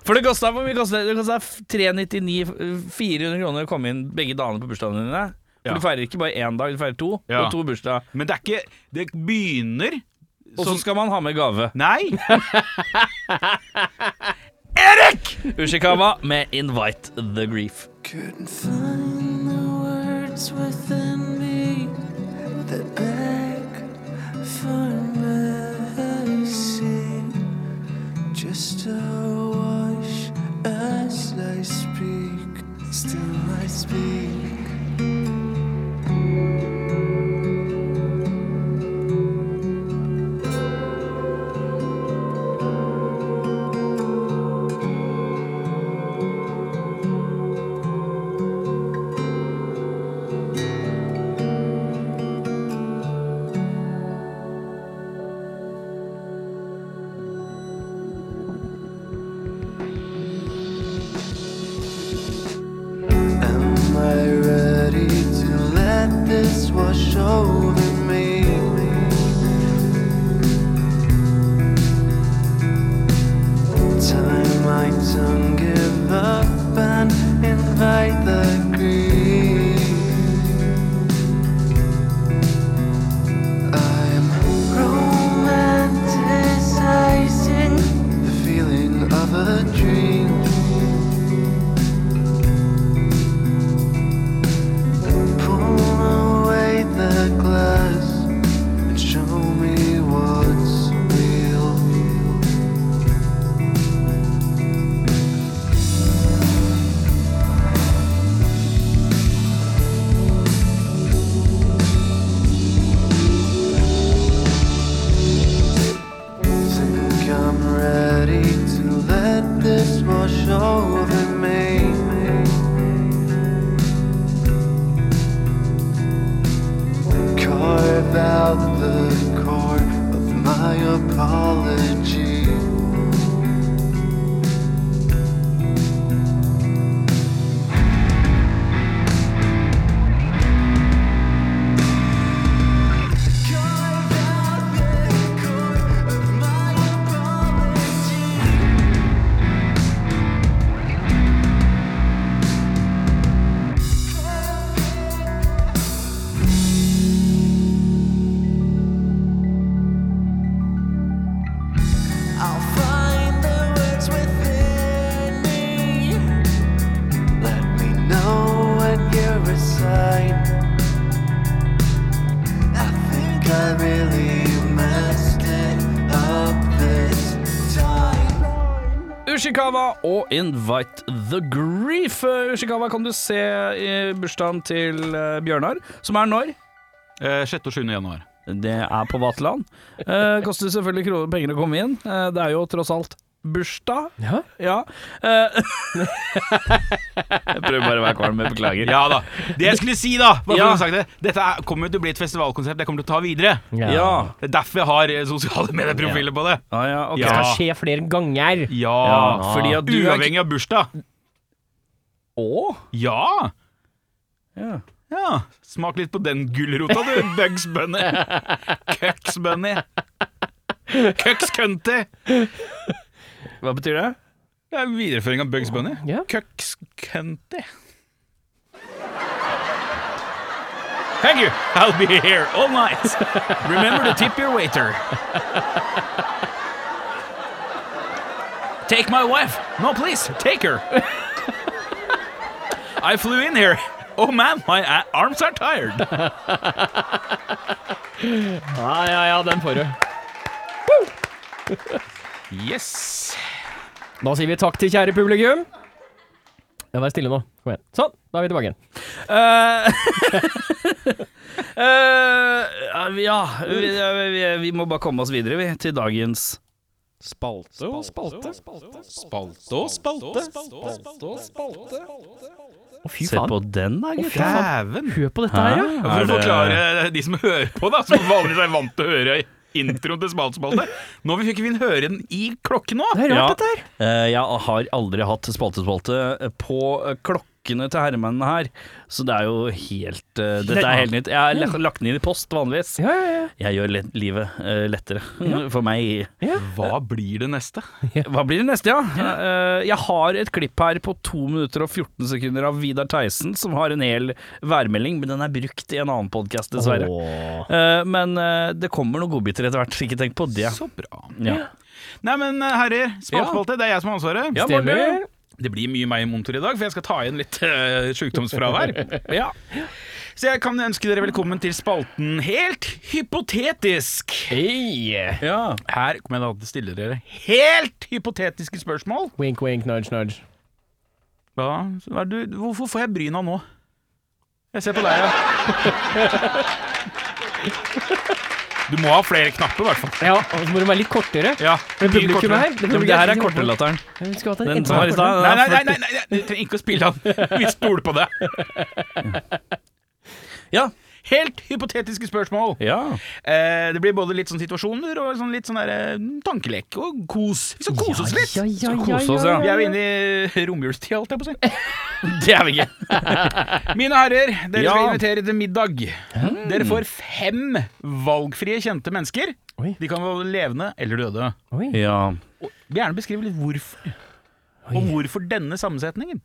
S1: For det kosta hvor mye kostet det? Det kosta 399, 400 kroner å komme inn begge dagene på bursdagene dine. For
S3: Ja.
S1: du feirer ikke bare én dag, du feirer to,
S3: Ja.
S1: og to bursdag.
S3: Men det er ikke Det begynner
S1: Og så
S3: som
S1: skal man ha med gave.
S3: Nei!
S1: Ushikawa med 'Invite the Grief'.
S4: Couldn't find the words within me that back for mercy just a wash as I speak still I speak Am I ready to let this wash over me? Time I don't give up and invite the grief. I'm romanticizing the feeling of a dream. Pull away the glass and show me what's real. Think I'm ready to let this wash over me. carve out the core of my apology. I'll find the words within me. Let me know when you're a sign. I think I really messed it up this time.
S1: Ushikawa og Invite the Grief. Eh, Ushikawa kan du se i bursdagen til eh, Bjørnar, som er når?
S3: Eh, 6. og 7. januar.
S1: Det er på Vaterland. Eh, koster selvfølgelig kro- penger å komme inn. Eh, det er jo tross alt bursdag.
S2: Ja.
S1: Ja. Eh, jeg prøver bare å være kvalm, jeg beklager.
S3: Ja da. Det jeg skulle si, da bare for
S1: Ja.
S3: å ha sagt det, Dette er, kommer jo til å bli et festivalkonsept jeg kommer til å ta videre.
S1: Ja.
S3: Det er derfor jeg har eh, sosiale medieprofiler på det.
S1: Ah, ja, ok.
S3: Ja.
S2: Det skal skje flere ganger.
S3: Ja,
S1: Ja, fordi at du er
S3: Uavhengig av bursdag.
S1: Å?
S3: Ja.
S1: Ja.
S3: ja. Smak litt på den gulrota, du, Bugs Bunny. Cucks Bunny. Cucks Cunty.
S1: Hva betyr det?
S3: Det er en videreføring av Bugs Bunny.
S2: Ja.
S3: Cucks Cunty. Thank you. I'll be here all night. Remember to tip your waiter. Take my wife. No, please. Take her. I flew in here. Oh man, my a- arms are tired.
S2: ja, ja, ja, den får du.
S3: Yes.
S2: Da sier vi takk til kjære publikum. Ja, vær stille nå. Kom igjen. Sånn, da er vi tilbake igjen.
S1: Eh, eh, ja, vi, vi, vi må bare komme oss videre, vi, til dagens spalte og spalte.
S3: Spalte og spalte. Spalte og spalte.
S2: Å, fy
S1: Se
S2: faen.
S1: på den, da, gutta.
S3: Dæven.
S2: Hør på dette her, ja.
S1: Hæ?
S3: For
S1: Er
S3: å
S1: det-
S3: forklare de som hører på, da, som vanligvis er vant til å høre introen til Spaltespalte. Nå fikk vi høre den i klokken nå.
S2: Det er
S1: Ja.
S2: rart, dette her.
S1: Eh, jeg har aldri hatt spaltespalte på eh, klokkene til herremennene her, så det er jo helt eh, Dette er helt nytt. Jeg har la- lagt den inn i post vanligvis.
S2: Ja, ja, ja.
S1: Jeg gjør le- livet eh, lettere for meg.
S3: Hva blir det neste?
S1: Hva blir det neste, ja? Eh, jeg har et klipp her på 2 minutter og 14 sekunder av Vidar Theisen, som har en hel værmelding, men den er brukt i en annen podkast, dessverre.
S2: Åh.
S1: Eh, men eh, det kommer noen godbiter etter hvert, så ikke tenk på det.
S3: Så bra.
S1: Ja.
S3: Nei, men herrer, Spaltespalte, det er jeg som har ansvaret.
S1: Ja,
S2: Stemmer.
S1: Morten.
S3: Det blir mye meg i monitor i dag, for jeg skal ta igjen litt uh, eh, sykdomsfravær.
S1: Ja.
S3: Så jeg kan ønske dere velkommen til spalten Helt hypotetisk.
S2: Hey.
S1: Ja.
S3: Her kommer jeg da til å stille dere helt hypotetiske spørsmål.
S2: Wink, wink, nudge, nudge.
S3: Ja, så er du, hvorfor får jeg bryna nå? Jeg ser på deg, ja. Du må ha flere knapper, i hvert fall.
S2: Ja, og så må den være litt kortere.
S3: Ja,
S2: Men
S3: mye
S2: publikum
S3: kortere.
S2: her det
S1: Ja,
S2: kan
S1: men
S2: bli
S1: det her
S2: ganske
S1: er
S2: kortere.
S1: kortelatteren.
S2: Ja, Vi skulle hatt en
S1: Den som
S2: enda
S1: var i
S2: kortere.
S1: stad.
S3: Nei, nei, nei,
S1: den er
S3: nei, nei, du trenger ikke å spille han. Vi stoler på det.
S1: fort- Ja.
S3: Helt hypotetiske spørsmål.
S1: ja.
S3: Eh, det blir både litt sånn situasjoner og sånn litt sånn der, eh, tankelek og kos. Vi skal kose oss litt.
S2: Ja, ja,
S1: Skal
S2: ja,
S1: kose
S2: ja,
S1: oss, ja.
S3: Vi er jo inne i romjulstida, holdt jeg på å si.
S1: Det er vi ikke.
S3: Mine herrer, dere
S1: Ja.
S3: skal invitere til middag. Dere får fem valgfrie kjente mennesker.
S2: Oi.
S3: De kan være levende eller døde.
S2: Oi.
S1: Ja.
S3: Og Gjerne beskrive litt hvorfor. Og hvorfor denne sammensetningen.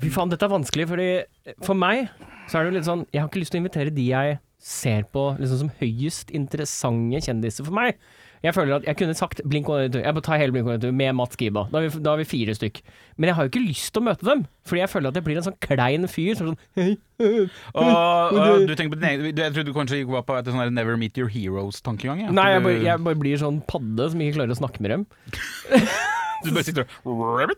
S2: Fy faen, dette er vanskelig, fordi for meg så er det jo litt sånn Jeg har ikke lyst til å invitere de jeg ser på liksom som høyest interessante kjendiser for meg. Jeg føler at jeg kunne sagt Blink 182. Jeg bare tar hele Blink 182 med Mats Giba. Da er, vi, da er vi fire stykk. Men jeg har jo ikke lyst til å møte dem, fordi jeg føler at jeg blir en sånn klein fyr som er sånn Hei, øh,
S3: Og, og du tenker på din egen du- Jeg trodde du kanskje gikk var på et sånn her Never Meet Your Heroes-tankegang.
S2: Nei, jeg bare, jeg bare blir sånn padde som ikke klarer å snakke med dem.
S3: Du bare sitter og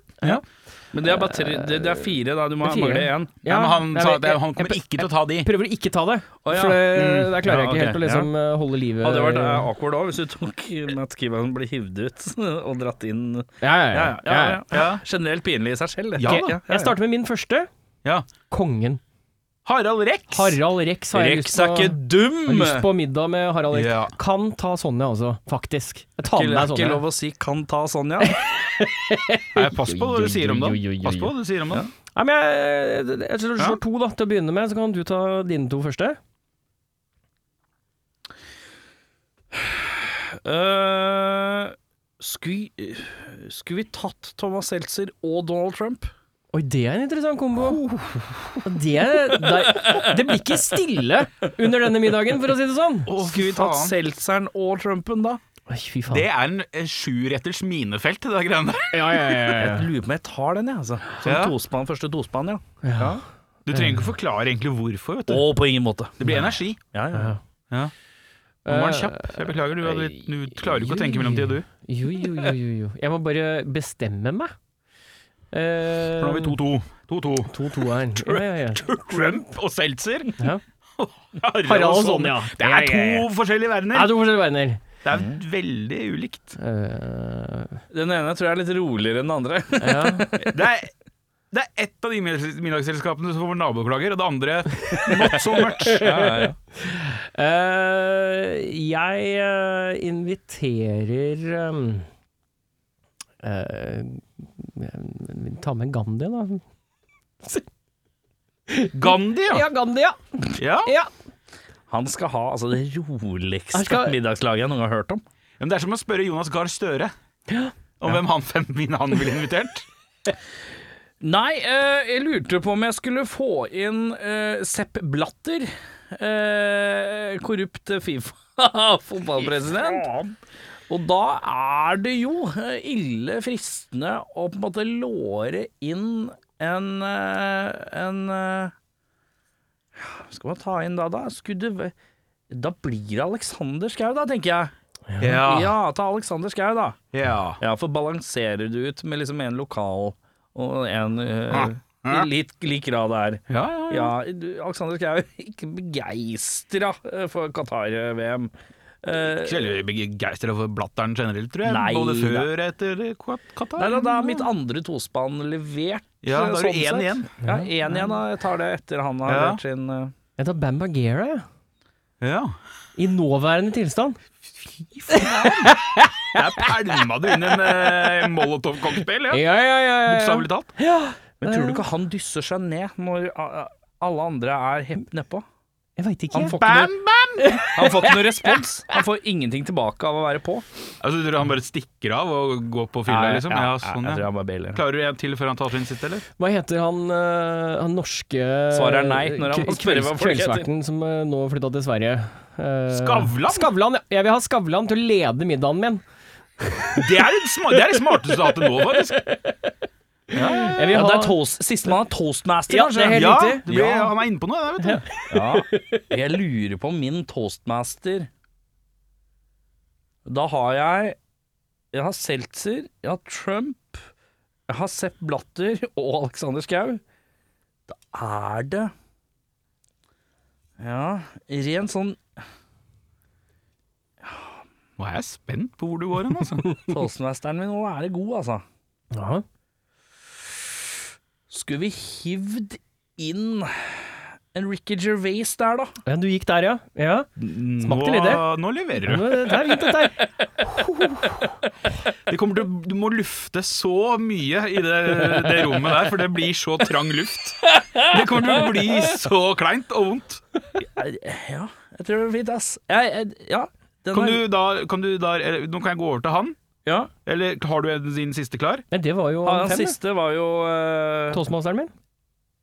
S1: Men det er bare tre Det, det er fire, da. Du må
S2: Det er fire.
S1: mangle én.
S3: ja, men Han
S2: jeg
S3: sa
S2: vet-
S3: at han kommer
S2: jeg-
S3: ikke til å ta de.
S2: jeg prøver å ikke ta det,
S1: Å, ja.
S2: for det,
S1: Ja,
S2: der klarer jeg ikke
S1: ok,
S2: helt å liksom eh, holde livet
S1: Hadde det vært eh, awkward òg, hvis du tok Matt Kiva som ble hivd ut og dratt inn
S2: Ja, ja, ja.
S1: Ja, ja. ja, ja. Generelt pinlig i seg selv, det.
S3: Ja,
S2: Ok,
S3: da.
S2: Jeg starter med min første.
S3: Ja.
S2: Kongen.
S3: Harald Rex.
S2: Harald Rex har jeg
S1: Rex
S2: lyst på.
S1: er ikke
S2: har
S1: dum!
S2: lyst på middag med Harald Rex.
S3: Ja.
S2: Kan ta Sonja også, faktisk. Jeg tar
S1: Ikke,
S2: med
S1: det er
S2: meg
S1: ikke
S2: Sonja.
S1: lov å si 'kan ta sånn, Sonja'.
S3: Nei, pass på hva du sier om
S2: Oi, oi, oi,
S3: det.
S2: oi.
S3: Pass på hva du sier om det.
S2: Nei, men jeg, jeg, jeg slår
S3: Ja.
S2: to da, til å begynne med, så kan du ta dine to første.
S1: Eh, skulle vi- skulle vi tatt Thomas Seltzer og Donald Trump?
S2: Oi, det er en interessant kombo.
S3: Oh.
S2: Det, er- det, det blir ikke stille under denne middagen, for å si det sånn.
S1: Skulle vi tatt Seltzeren og Trumpen da?
S2: Oi, fy faen.
S3: Det er en eh, sjuretters minefelt, det der greiene der.
S2: ja, ja, ja, ja.
S1: Jeg lurer på om jeg tar den, jeg. Altså. Som
S3: Ja.
S1: tospann, første tospann, ja.
S3: Du trenger ikke forklare egentlig hvorfor. vet du
S1: Og på ingen måte.
S3: Det blir energi.
S1: Ja, ja.
S3: Nå var den kjapp. Jeg beklager, du, hadde, litt- du klarer jo ikke å tenke mellom mellomtida, du.
S2: Jo, jo, jo, jo, jo. Jeg må bare bestemme meg. Eh,
S3: For nå har vi 2-2. 2-2.
S2: 2-2-eren. Ja, ja, ja.
S3: Trump og Seltzer.
S2: Ja.
S3: Harald,
S2: Harald og Sonja.
S3: Det
S2: Ja, ja,
S3: er to
S2: ja.
S3: forskjellige
S2: Nei,
S3: verdener.
S2: to forskjellige verdener.
S3: Det er veldig ulikt.
S2: Eh,
S1: Den ene tror jeg er litt roligere enn den andre.
S2: ja.
S3: Det er, det er ett av de middags- middagsselskapene som får naboklager, og det andre not so much.
S2: Eh, jeg eh, inviterer ehm, eh, eh, Ta med Gandhi, da.
S3: Gandhi, ja.
S2: Ja, Gandhi, ja!
S3: ja.
S2: ja.
S1: Han skal ha altså, det roligste
S2: Han skal-
S1: middagslaget jeg noen gang har hørt om.
S3: Men det er som å spørre Jonas Gahr Støre om hvem han fem min han ville invitert.
S1: Nei, eh, jeg lurte på om jeg skulle få inn eh, Sepp Blatter. Eh, korrupt Fifa-fotballpresident. Og da er det jo eh, ille fristende å på en måte låre inn en eh, En eh, Hva skal man ta inn da, da? Skulle det væ- Da blir det Alexander Schou, da, tenker jeg.
S3: Ja.
S1: Ja, ta Alexander Schou, da.
S3: Ja.
S1: Ja, for balanserer du ut med liksom en lokal og en
S3: Ah.
S1: eh,
S3: Ah.
S1: i litt lik grad der.
S3: Ja, ja.
S1: Ja, du, Alexander Schou er jo ikke begeistra eh, for Qatar-VM. Eh,
S3: Ikke veldig begeistra for blatteren generelt, tror jeg.
S1: Nei,
S3: Både
S1: da.
S3: før og etter Kat- Qatar.
S1: Nei, da, da er mitt andre tospann levert.
S3: Ja, da er du
S1: sånn
S3: én
S1: sett.
S3: igjen.
S1: Ja, én igjen. Da. Jeg tar det etter han har
S3: Ja.
S1: vært sin eh,
S2: Jeg tar Bam Bagheera, jeg.
S3: Ja.
S2: I nåværende tilstand.
S3: Der pælma du inn en eh, molotov-cocktail, ja.
S2: Ja, ja, ja.
S3: Bokstavelig talt.
S1: Men tror du ikke han dysser seg ned når ah, alle andre er hepp nedpå?
S2: Jeg veit ikke.
S1: Han får ikke noe, han får ikke noe respons. Han får ingenting tilbake av å være på.
S3: Altså, du tror han bare stikker av og går på fylla, liksom? Ja, sånn,
S1: Jeg tror
S3: ja.
S1: han bare bailer.
S3: Klarer du en til før han tar sin sitt, eller?
S2: Hva heter han, eh, han norske
S1: Svaret er nei når han
S2: kve-
S1: spør hva folk heter.
S2: Kveldsverten som eh, nå flytta til Sverige. Eh,
S3: Skavlan?
S2: Skavlan, ja. Jeg vil ha Skavlan til å lede middagen min.
S3: Det er det, sma det, er det smarteste du har hatt til nå, faktisk.
S2: Jeg vil
S1: Ja,
S2: ha
S1: det er toast, Sistemann er toastmaster,
S2: Ja,
S1: kanskje?
S2: det er helt
S3: Ja,
S2: riktig.
S3: det ble,
S1: Ja.
S3: han er inne på noe der, vet du.
S1: Ja. Jeg lurer på om min toastmaster Da har jeg Jeg har Seltzer, jeg har Trump, jeg har Sepp Blatter og Alexander Schou. Da er det Ja, ren sånn
S3: Nå er jeg spent på hvor du går hen, altså.
S1: Toastmasteren min, nå er det god, altså.
S2: Ja.
S1: Skulle vi hivd inn en Ricky Gervais der, da?
S2: Ja, du gikk der, ja. ja. Smakte litt, det.
S3: Nå, nå leverer du.
S2: Men Det er fint, dette her.
S3: Det kommer til, du må lufte så mye i det, det rommet der, for det blir så trang luft. Det kommer til å bli så kleint og vondt.
S1: Ja, jeg tror det blir fint, ass. Jeg, jeg, ja, den
S3: Kan
S1: er-
S3: du da, kan du da eller, Nå kan jeg gå over til han.
S1: ja.
S3: Eller har du en- din siste klar?
S2: Nei, det var jo
S1: Ja,
S2: han
S1: den
S2: fem.
S1: siste var jo eh,
S2: Toastmasteren min.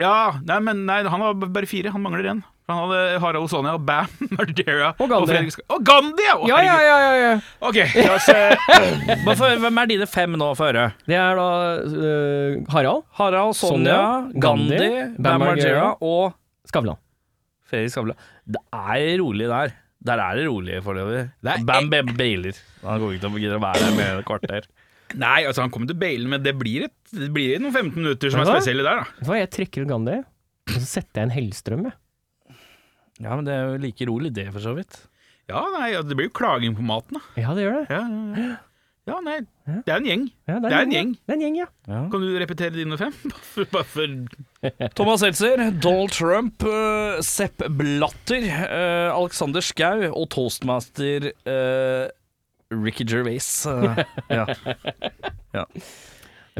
S3: Ja, nei, men nei, han har bare fire. Han mangler én. Han hadde Harald Sonja, Bam, Mardera
S2: Og Gandhi.
S3: Fredrik Skau- Og Gandhi! Å,
S2: Ja, ja,
S3: herregud.
S2: ja, ja, ja.
S3: Ok, la oss eh,
S1: hva for- Hvem er dine fem nå, få høre?
S2: Det er da eh, Harald
S1: Harald, Sonja,
S2: Sonja,
S1: Gandhi,
S2: Gandhi,
S1: Bam
S2: Bam
S1: Margera
S2: Margera
S1: og
S2: Skavlan.
S1: Fredrik Skavlan. Det er rolig der. Der er det rolig foreløpig.
S3: Det er-
S1: Bam Bam Bailer. Han kommer ikke til å gidde å være her mer enn et kvarter.
S3: Nei, altså han kommer til bailen, men det blir, et, det blir noen 15 minutter som er
S2: Hva?
S3: spesielle der, da.
S2: Vet du hva, jeg trekker ut Gandhi, og så setter jeg en Hellstrøm, jeg.
S1: Ja, men det er jo like rolig, det, for så vidt.
S3: Ja, nei, ja, Det blir jo klaging på maten, da.
S2: Ja, det gjør det.
S3: Ja, ja, ja. ja nei, det er en gjeng.
S2: Ja,
S3: Det er en gjeng.
S2: ja. Det er en gjeng, ja.
S3: Kan du repetere dine fem? Bare for
S1: Thomas Seltzer, Donald Trump, eh, Sepp Blatter, eh, Alexander Schou og toastmaster eh, Ricky Gervais. Eh, ja.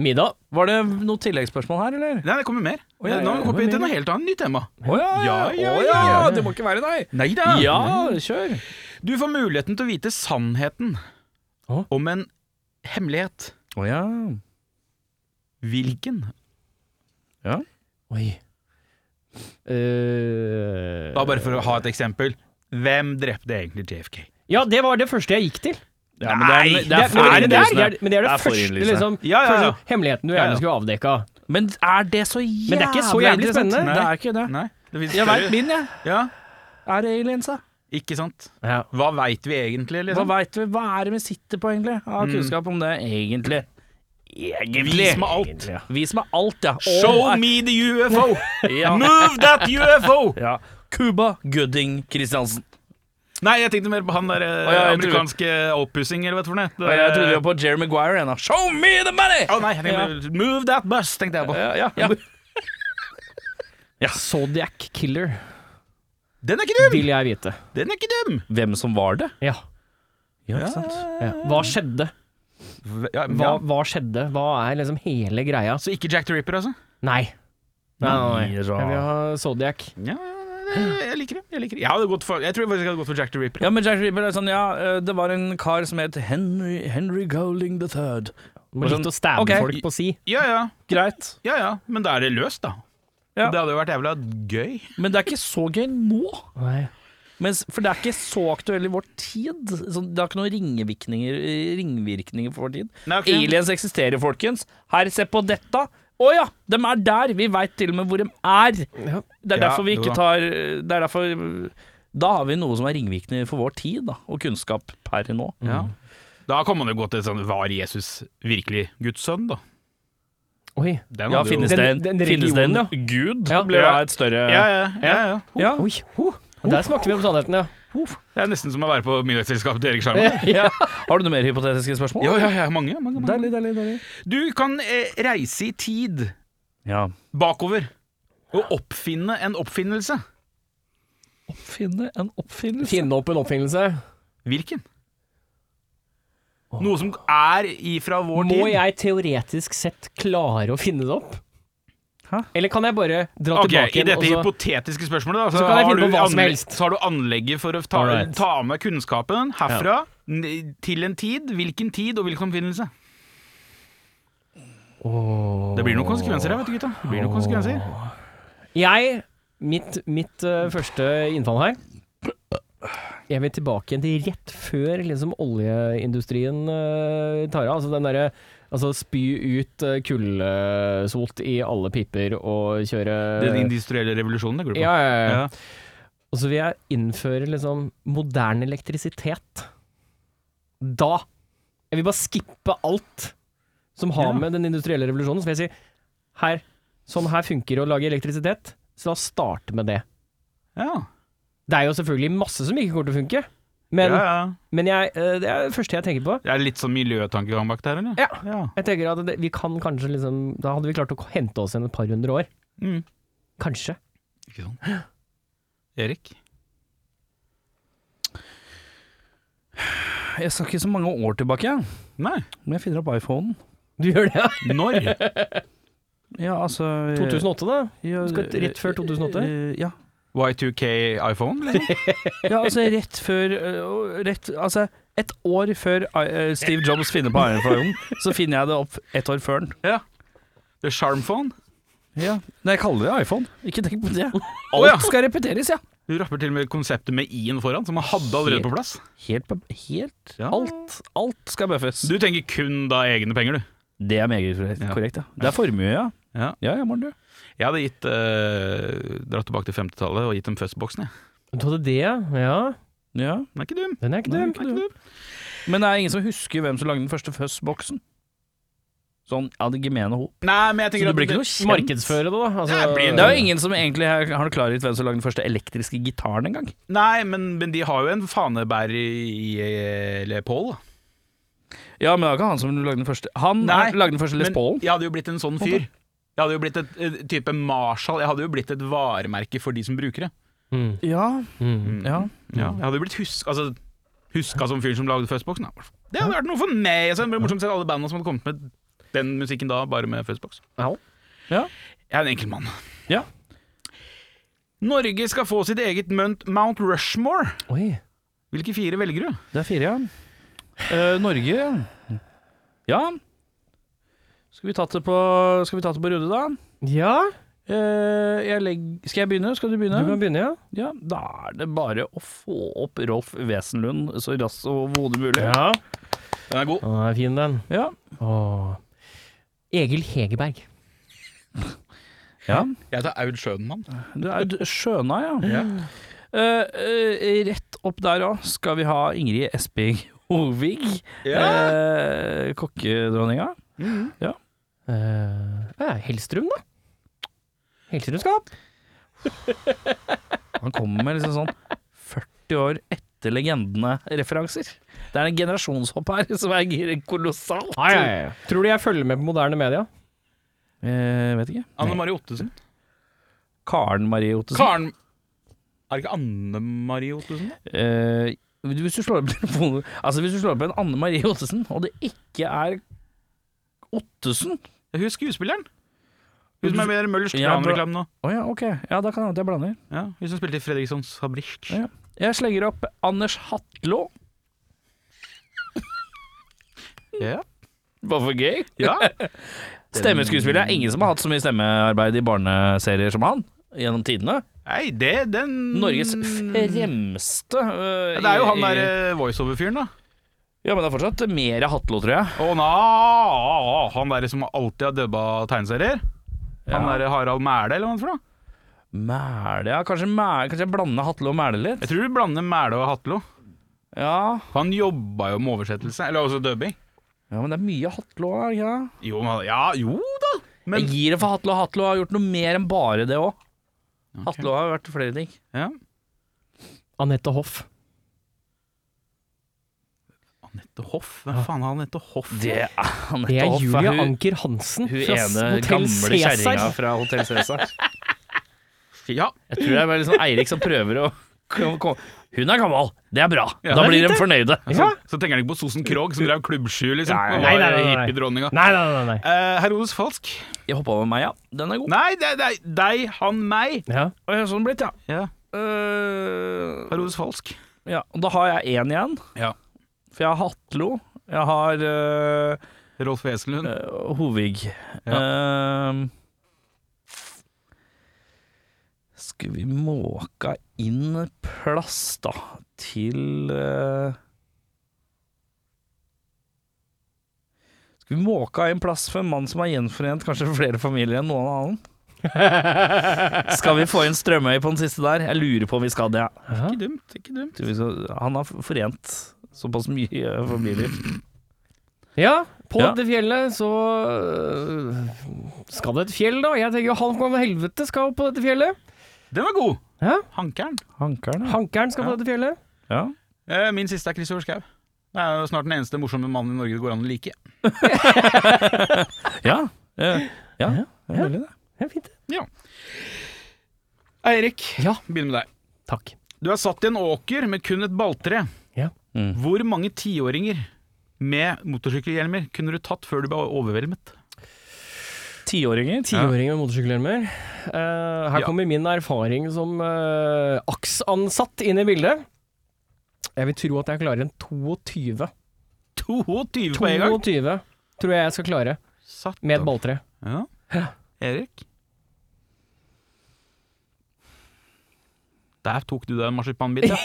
S2: Middag.
S1: Var det noe tilleggsspørsmål her, eller?
S3: Nei, det kommer mer.
S1: ja, ja,
S3: Nå
S1: det
S3: hopper vi
S2: kommer
S3: til noe helt annet. Nytt tema.
S1: Å ja, ja, ja,
S3: Å
S1: ja,
S3: ja,
S1: det må ikke være deg.
S3: Nei da.
S1: Ja, kjør.
S3: Du får muligheten til å vite sannheten
S2: Å.
S3: om en hemmelighet.
S1: Å ja.
S3: Hvilken?
S2: Oi. Eh,
S3: Da Bare for å ha et eksempel. Hvem drepte egentlig JFK?
S2: ja, det var det første jeg gikk til.
S1: men det er, det er
S2: men,
S1: for
S2: det, er, det
S1: innlysende.
S2: er, men det er det,
S1: Det er for
S2: første
S1: innlysende.
S2: liksom,
S3: Ja, ja, ja.
S2: første hemmeligheten du
S3: Ja,
S2: gjerne
S3: ja.
S2: skulle avdekka.
S1: Men er det så jævlig
S2: Men det er ikke så jævlig
S1: spennende?
S2: spennende.
S1: Det er ikke det.
S3: Nei, det finnes
S1: Jeg veit
S3: større-
S1: min, jeg.
S3: Ja,
S1: Er det aliens, da?
S3: ikke sant?
S2: Ja.
S3: Hva veit vi egentlig,
S1: Hva
S3: liksom?
S1: veit vi? Hva er det vi sitter på, egentlig? Av kunnskap om det, egentlig. Egentlig.
S3: Vis meg alt.
S1: Vis meg alt, ja. All
S3: Show
S1: er-
S3: me the UFO!
S1: Ja.
S3: Move that UFO!
S1: ja. Cuba Gooding Christiansen.
S3: Nei, jeg tenkte mer på han der eh,
S1: Å, ja, jeg trodde-
S3: amerikanske oppussing, eller hva det er for noe.
S1: Og jeg trodde vi var på Jerry Maguire igjen, da. Show me the money!
S3: Å nei, jeg tenkte, move that bus, tenkte jeg på.
S1: Ja, ja, ja.
S2: Zodiac Killer
S3: Den er ikke dum!
S2: vil jeg vite.
S3: Den er ikke dum!
S1: Hvem som var det?
S2: Ja.
S1: Ja, ikke sant?
S2: ja. Hva skjedde?
S3: Ja,
S2: Hva, hva skjedde? Hva er liksom hele greia?
S3: Så ikke Jack the Ripper, altså?
S2: Nei. Nei, nei, nei.
S1: Nei, så-
S2: Jeg vil ha Zodiac.
S3: Ja, jeg liker det. Jeg liker det. Jeg, hadde gått for, jeg tror faktisk jeg hadde gått for Jack the Ripper.
S1: Ja, men Jack Ripper er sånn, ja, eh, det var en kar som het Henry, Henry Golding the Third.
S2: Må
S1: Sånn,
S2: likt å stabbe
S1: ok.
S2: folk på si.
S3: Ja ja,
S1: Greit.
S3: ja ja. Men da er det løst, da.
S1: Ja.
S3: Det hadde jo vært jævla gøy.
S1: Men det er ikke så gøy nå.
S2: Nei.
S1: Mens, for det er ikke så aktuelt i vår tid. Sånn, det har ikke noen ringvirkninger, ringvirkninger for vår tid.
S3: Nei, ok.
S1: Aliens eksisterer, folkens. Her, se på dette. Å ja, dem er der! Vi veit til og med hvor de er.
S2: Ja.
S1: Det er
S3: Ja,
S1: derfor vi
S3: jo
S1: ikke
S3: da.
S1: tar Det er derfor Da har vi noe som er ringvirkninger for vår tid, da, og kunnskap per nå.
S3: Ja. Mm. Da kan man jo gå til sånn Var Jesus virkelig Guds sønn, da?
S2: Oi.
S3: Den
S1: Ja,
S3: hadde jo-
S1: finnes det en,
S2: Den- den
S1: finnes det en
S2: religionen,
S1: gud?
S2: Ja.
S1: Blir da et større
S3: Ja ja, ja, ja.
S1: Ja.
S2: Oi. Ho. Der smakte vi på sannheten, ja.
S3: Det er nesten som å være på middagsselskapet til Erik Sjarma.
S1: Ja. Har du noen mer hypotetiske spørsmål?
S3: Ja, ja, ja, mange, mange, mange.
S1: Deilig, deilig, deilig.
S3: Du kan eh, reise i tid
S1: Ja.
S3: bakover og oppfinne en oppfinnelse.
S1: Oppfinne en oppfinnelse.
S2: Finne opp en oppfinnelse.
S3: Hvilken? Noe som er ifra vår
S2: Må
S3: tid.
S2: jeg teoretisk sett klare å finne det opp?
S1: Hæ?
S2: Eller kan jeg bare dra
S3: Ok,
S2: tilbake
S3: I
S2: igjen
S3: dette
S2: og så
S3: hypotetiske spørsmålet, da, så,
S2: Så kan jeg
S3: har
S2: finne
S3: du
S2: på hva som
S3: anlegg-
S2: helst.
S3: så har du anlegget for å ta,
S2: Alright.
S3: ta med kunnskapen herfra n- til en tid. Hvilken tid, og hvilken oppfinnelse? Det blir noen konsekvenser her, vet du, gutta. Det blir noen konsekvenser.
S2: Jeg, mitt, mitt eh, første innfall her Jeg vil tilbake igjen til rett før liksom oljeindustrien eh, tar av. Altså den derre Altså spy ut eh, kullsot i alle piper og kjøre
S3: Den industrielle revolusjonen, det går du på.
S2: ja, ja, ja.
S3: Ja.
S2: Og så vil jeg innføre liksom moderne elektrisitet. Da. Jeg vil bare skippe alt som har
S3: Ja.
S2: med den industrielle revolusjonen. Så vil jeg si her, sånn her funker det å lage elektrisitet, så la oss starte med det.
S3: Ja.
S2: Det er jo selvfølgelig masse som ikke kommer til å funke, men,
S3: ja, ja.
S2: men jeg, eh, det er det første jeg tenker på.
S3: Det er litt sånn miljøtankegang bak der, eller?
S2: Ja.
S3: ja.
S2: Jeg tenker at det, vi kan kanskje liksom Da hadde vi klart å hente oss igjen et par hundre år.
S3: Mm.
S2: Kanskje.
S3: Ikke sånn. Erik?
S1: Jeg skal ikke så mange år tilbake,
S3: Nei.
S1: men jeg finner opp iPhonen.
S2: Du gjør det, ja?
S3: Når?
S1: Ja, altså
S2: 2008, da?
S1: Ja,
S2: Skal vi rett før 2008?
S1: eh, Ja.
S3: Y2K iPhone? Eller?
S1: ja, altså rett før eh, og rett, Altså et år før eh, Steve Jobs finner på iPhonen, så finner jeg det opp et år før den.
S3: The Charmphone?
S1: Ja. Nei, jeg kaller det iPhone. Ikke tenk på det.
S3: Å, ja.
S1: Alt skal repeteres, ja.
S3: Du rapper til og med konseptet med i-en foran, som man hadde allerede på plass.
S1: Helt, på- helt
S3: Ja.
S1: alt, alt skal bøffes.
S3: Du tenker kun da egne penger, du.
S1: Det er meget korrekt,
S3: Ja.
S1: korrekt, ja. Det er formue, ja.
S3: Ja.
S1: Ja, ja, Morten, du.
S3: Jeg hadde gitt eh, dratt tilbake til 50-tallet og gitt dem Fuzzboxen, jeg.
S2: Du hadde det, ja? ja.
S1: Ja.
S3: Den er ikke dum.
S2: Den er ikke
S3: Den
S2: dum.
S3: er ikke dum.
S1: Men det er ingen som husker hvem som lagde den første Fuzz-boksen. Sånn av det gemene hop.
S3: Nei, men jeg
S1: Så
S3: tenker
S1: du blir ikke
S3: at
S1: noe kjent.
S2: Markedsføre det, da. Altså,
S3: Ja, blir
S1: Det er jo ingen som egentlig har har klarhet hvem som lagde den første elektriske gitaren engang.
S3: Nei, men, men de har jo en fanebærer i, eh, i Leopold.
S1: Ja, men det var ikke han som lagde den første Han
S3: Nei,
S1: har lagde den første Les Paulen.
S3: jeg hadde jo blitt en sånn fyr. Jeg hadde jo blitt et, et type Marshall. Jeg hadde jo blitt et varemerke for de som bruker det.
S2: Mm,
S1: Ja,
S2: mm.
S1: ja.
S3: Ja, jeg hadde jo blitt husk, altså, huska som fyren som lagde Fuzzboxen. da. Det hadde vært noe for meg. Altså, det blir morsomt å se alle bandene som hadde kommet med den musikken da, bare med Fuzzbox.
S2: Ja.
S1: Ja.
S3: Jeg er en enkel mann.
S1: Ja.
S3: Norge skal få sitt eget Mount, Mount Rushmore.
S2: Oi.
S3: Hvilke fire velger du?
S1: Det er fire, ja. Eh, Norge Ja. Skal vi tatt det på Skal vi tatt det på Rudde, da?
S2: Ja,
S1: Eh, jeg legg, skal jeg begynne? Skal du
S2: du
S1: begynne?
S2: kan begynne, ja.
S1: Ja, Da er det bare å få opp Rolf Wesenlund så raskt og overhodet mulig.
S2: ja.
S3: Den er
S2: Å,
S3: god.
S2: den er fin, den.
S1: Ja.
S2: Åh. Egil Hegerberg.
S1: ja.
S3: Jeg tar Aud Schønmann.
S1: Det er d- Sjøna, ja.
S3: Ja.
S1: Eh, eh, rett opp der òg skal vi ha Ingrid Esping Hovig, eh, kokkedronninga.
S2: Eh, ja, Hellstrøm, da. Hellstrøm skal opp.
S1: Han kommer med liksom sånn 40 år etter legendene-referanser. Det er en generasjonshopp her som er gir- kolossalt.
S2: Tror du jeg følger med på moderne media?
S1: Eh, vet ikke.
S3: Anne Marie Ottesen.
S1: Karen Marie Ottesen.
S3: Karen Er det ikke Anne Marie Ottesen?
S1: Eh, hvis, du slår opp telefonen, altså hvis du slår opp en Anne Marie Ottesen, og det ikke er Ottesen
S3: Hun er skuespilleren. Hun som er med i Møllers
S1: Ja, bra.
S3: Tran-reklamen nå.
S1: Å ja, ok. Ja, da kan det hende at jeg blander.
S3: Ja, hun som spilte i Fredrikssons Fabrikk.
S1: Ja. Jeg slenger opp Anders Hatlå.
S3: Ja.
S1: Bare for gøy.
S3: Ja.
S1: Stemmeskuespiller. Det er ingen som har hatt så mye stemmearbeid i barneserier som han gjennom tidene.
S3: Nei, det den
S1: Norges
S2: Mm.
S1: fremste øh,
S3: Ja, Det er jo han
S1: i-
S3: der eh, voiceover-fyren, da.
S1: Ja, men det er fortsatt mer Hatlå, tror jeg.
S3: Å na, han der som alltid har dubba tegneserier. Han
S1: Ja.
S3: der Harald Mæle, eller hva han for noe?
S1: Mæle ja, kanskje, Mæle, kanskje jeg blander Hatlå og Mæle litt?
S3: Jeg tror du blander Mæle og Hatlo.
S1: Ja.
S3: Han jobba jo med oversettelse, eller også dubbing.
S1: ja, men det er mye Hatlå her, ikke det?
S3: Jo, men, ja, jo da! Men
S1: Jeg gir det for Hatlå. Hatlå har gjort noe mer enn bare det òg. Hatlå har vært flere ting.
S3: ja.
S2: Anette Hoff.
S3: Anette Hoff? Hvem faen er Anette Hoff?
S1: Det er
S2: Det
S1: Anette
S2: er
S1: Hoff.
S2: Julia
S1: hun,
S2: Anker Hansen
S1: hun
S2: fra
S1: ene
S2: Hotell
S1: gamle kjerringa
S2: Cæsar.
S1: fra Hotell Cæsar.
S3: Ja.
S1: Jeg tror det er bare liksom Eirik som prøver å kom, kom. Hun er gammel, det er bra.
S3: Ja,
S1: da
S3: det er
S1: blir
S3: fint,
S1: de fornøyde.
S2: Ja.
S3: Så tenker han ikke på Sosen Krogh, som drev klubbsky, liksom.
S2: Nei,
S3: og
S2: nei,
S3: var
S2: nei, nei, nei.
S3: hippiedronninga.
S2: Nei, nei, nei. nei.
S3: Eh, Herodes Falsk.
S1: Jeg hoppa over meg, ja. Den er god.
S3: Nei, det er det er deg, han, meg.
S2: Ja.
S1: Å, ja, Sånn blitt, ja.
S3: Ja, Eh,
S1: Øh,
S3: Herodes Falsk.
S1: ja. og Da har jeg én igjen.
S3: Ja.
S1: For jeg har Hatlo. Jeg har øh,
S3: Rolf Wesenlund.
S1: øh, Hovig. Ehm, skal vi måka inn plass, da, eh, til øh, Skal Vi måka en plass for en mann som har gjenforent kanskje flere familier enn noen annen. Skal vi få inn Strømøy på den siste der? Jeg lurer på om vi skal det. ja.
S3: Ikke dumt, ikke dumt.
S1: Tror vi så- Han har forent såpass mye familier.
S2: Ja, på
S1: Ja.
S2: det fjellet så øh, skal det et fjell, da. Jeg tenker jo han fra helvete skal opp på dette fjellet.
S3: Den var god.
S2: Ja,
S3: Hankeren.
S1: Hankeren, ja.
S2: Hankeren skal på dette fjellet.
S1: ja.
S3: Eh, Min siste er Kristoffer Schau. Det er jo snart den eneste morsomme mannen i Norge det går an å like.
S1: Ja, eh, ja, det er veldig det.
S2: Ja, fint.
S3: Eirik,
S2: Ja.
S3: begynn med deg.
S2: Takk.
S3: Du er satt i en åker med kun et balltre.
S2: Ja.
S1: Mm.
S3: Hvor mange tiåringer med motorsykkelhjelmer kunne du tatt før du ble overveldet?
S1: Tiåringer.
S2: Tiåringer med motorsykkelhjelmer. Eh, her
S3: Ja.
S2: kommer min erfaring som eh, aksansatt inn i bildet. Jeg vil tro at jeg klarer en 22.
S3: 22 på en gang!
S2: 22 tror jeg jeg skal klare
S3: Satt
S2: med et
S3: opp.
S2: balltre.
S3: Ja. Erik? Der tok du deg en marsipanbit, ja.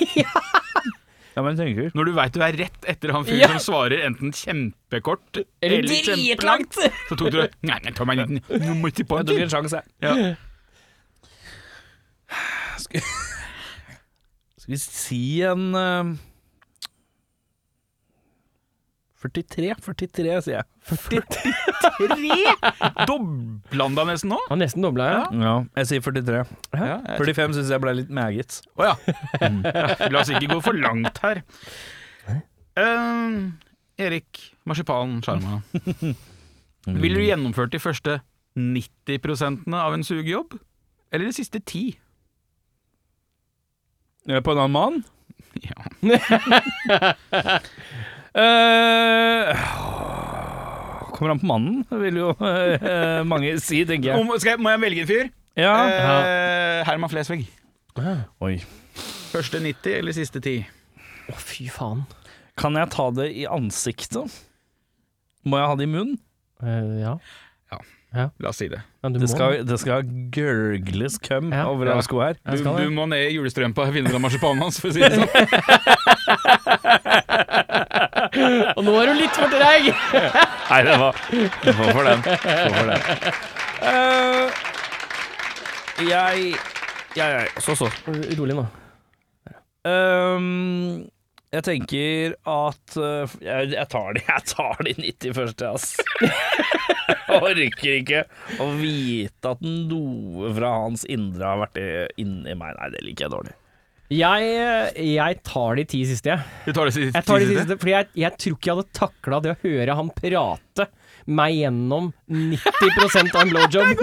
S1: Ja, men jeg tenker
S3: Når du veit du er rett etter han fyren
S2: Ja.
S3: som svarer enten kjempekort
S2: Eller
S3: kjempelangt, så tok du Nei, nei, ta meg en liten nå må jeg til på en
S1: Jeg tok
S3: tur.
S1: en sjanse, jeg.
S3: Ja.
S1: Skal Skal vi si en eh, 43? 43, sier jeg.
S3: Dobla han nesten nå?
S2: Han nesten dobla, ja.
S1: Ja, jeg sier 43. 45 syns jeg ble litt meget.
S3: Å ja. Mm. ja. La oss ikke gå for langt her. Ehm, Erik, marsipanen, sjarma.
S1: Mm.
S3: Ville du gjennomført de første 90 av en sugejobb? Eller de siste ti?
S1: Eh, På en annen mann?
S3: Ja.
S1: Eh, kommer an på mannen, vil jo eh, mange si, tenker jeg.
S3: Om, skal jeg, må jeg velge en fyr?
S1: Ja.
S3: Eh, Herman Flesvig.
S1: Oi.
S3: Første 90 eller siste 10?
S2: Å, fy faen.
S1: Kan jeg ta det i ansiktet? Må jeg ha det i munnen?
S2: Eh, ja.
S3: La oss si det.
S2: Men du
S1: Det
S2: må
S1: skal, det skal gørgles køm
S2: Ja.
S1: over
S3: Ja.
S1: alle sko her.
S2: Jeg
S3: Du,
S2: skal det.
S3: du må ned i julestrømpa og finne deg marsipanen hans, for å si det sånn.
S2: Og nå er du litt for treig!
S1: Nei, det var Hvorfor den? Hvorfor den? Eh, jeg Jeg, jeg Så, så.
S2: Rolig nå.
S1: Ehm, jeg tenker at eh, jeg, jeg tar de Jeg tar de 90 først, jeg, ass. Jeg orker ikke å vite at noe fra hans indre har vært i- inni meg. Nei, det liker jeg dårlig.
S2: Jeg, eh, jeg tar de ti siste, jeg.
S3: Du tar det siste?
S2: jeg tar de siste fordi jeg, jeg tror ikke jeg hadde takla det å høre han prate meg gjennom 90 av en blowjob.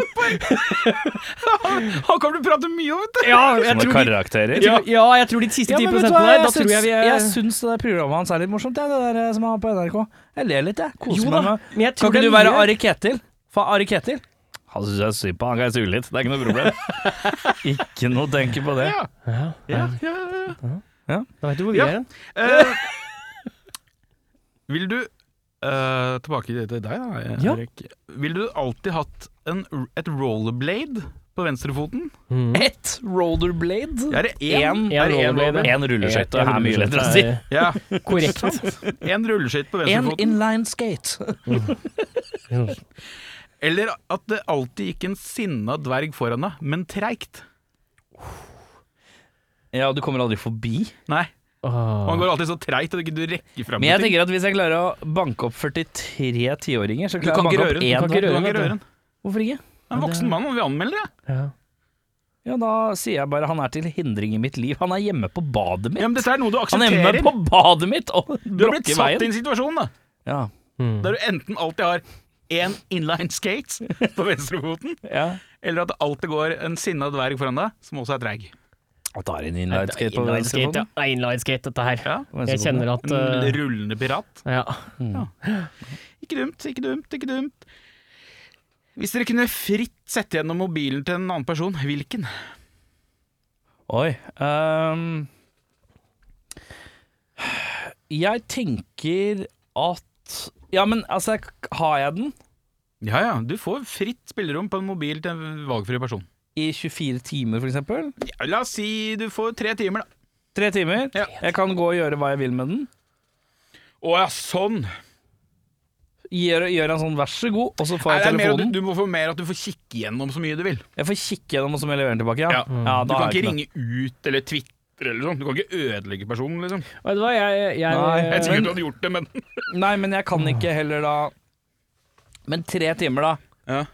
S3: Han kommer til å prate mye om, vet du!
S2: Ja, jeg
S1: Sånne
S2: tror de,
S1: karakterer.
S2: ja, ja, jeg tror de siste
S1: Ja,
S2: ti
S1: men vet du
S2: prosentene
S1: hva,
S2: der, da
S1: jeg
S2: tror jeg
S1: syns-
S2: vi
S1: jeg
S2: er
S1: syns det der programmet hans er litt morsomt, ja, det der eh, som han har på NRK. Jeg ler litt, jeg. Koser
S2: Jo
S1: meg
S2: da,
S1: med
S2: men jeg
S1: Kan
S2: tror det
S1: ikke
S2: er
S1: du være
S2: mye-
S1: Ari Ketil? Faen, Ari Ketil? Han syns jeg er synd på, han kan jeg sule litt. Det er ikke noe problem. ikke noe å tenke på det.
S3: Ja.
S2: Ja,
S3: Ja, ja, ja.
S2: Da vet du hvor vi
S3: Ja.
S2: er hen.
S3: Eh, vil du eh, Tilbake til deg, da,
S2: Ja.
S3: Erik. Vil du alltid hatt en, et rollerblade på venstrefoten?
S1: Ett rollerblade.
S3: Er det én?
S1: Én
S2: En rollerblade.
S1: En rulleskøyte er mye lettere å si.
S2: rulleskøyte
S3: Ja,
S2: er Korrekt.
S3: en rulleskitt på
S1: En
S3: venstrefoten.
S1: inline skate.
S3: Eller at det alltid gikk en sinna dverg foran deg, men treigt.
S1: Ja, du kommer aldri forbi.
S3: Nei,
S2: Åh.
S3: han går alltid så treigt at du ikke rekker fram.
S1: Men jeg
S3: til ting.
S1: tenker at hvis jeg klarer å banke opp 43 tiåringer, så
S3: Du kan
S1: klarer jeg å banke opp
S3: ikke røre den.
S1: én.
S3: Du kan ikke røre
S2: vet du.
S3: den. Det
S1: Hvorfor ikke?
S3: er En voksen mann, og vi anmelder det.
S2: Ja.
S1: Ja, da sier jeg bare han er til hindring i mitt liv. Han er hjemme på badet mitt.
S3: Ja, men dette er noe du
S1: Han er
S3: aksepterer.
S1: hjemme på badet mitt og
S3: Du har blitt
S1: blokker
S3: satt i
S1: veien.
S3: en situasjon da
S1: Ja,
S3: der du enten alltid har én inline skates på venstrefoten,
S1: ja.
S3: eller at det alltid går en sinna dverg foran deg som også er treig.
S1: Og tar en inline skate på
S2: Inline skate, ja.
S1: venstrefoten.
S2: Det er Inline skate, dette her.
S3: Ja.
S2: Jeg kjenner at
S3: En
S2: eh,
S3: rullende pirat.
S2: Ja.
S3: Ikke dumt, ikke dumt, ikke dumt. Hvis dere kunne fritt sette gjennom mobilen til en annen person, hvilken?
S1: Oi. ehm, jeg tenker at Ja, men altså, jeg- har jeg den
S3: Ja ja, du får fritt spillerom på en mobil til en valgfri person.
S1: i 24 timer, for eksempel?
S3: Ja, la oss si du får tre timer, da.
S1: Tre timer.
S3: Ja.
S1: Jeg kan gå og gjøre hva jeg vil med den.
S3: Å ja, sånn!
S1: gjør, gjør en sånn 'vær så god', og så får
S3: Nei,
S1: jeg
S3: det er mer at
S1: telefonen.
S3: du, du må få mer at du får kikke gjennom så mye du vil.
S1: Jeg får kikke gjennom, og så må jeg levere den tilbake. Ja. Mm.
S3: Ja.
S1: Ja,
S3: Du
S1: da
S3: kan
S1: har jeg
S3: ikke ringe ut eller twitre eller sånn. Du kan ikke ødelegge personen, liksom.
S1: Eh,
S2: Vet du hva, jeg, jeg,
S1: Nei, jeg
S3: Jeg
S1: tror-
S3: sier du hadde gjort det, men
S1: noe. Nei, men jeg kan ikke heller da Men tre timer, da.
S3: Ja.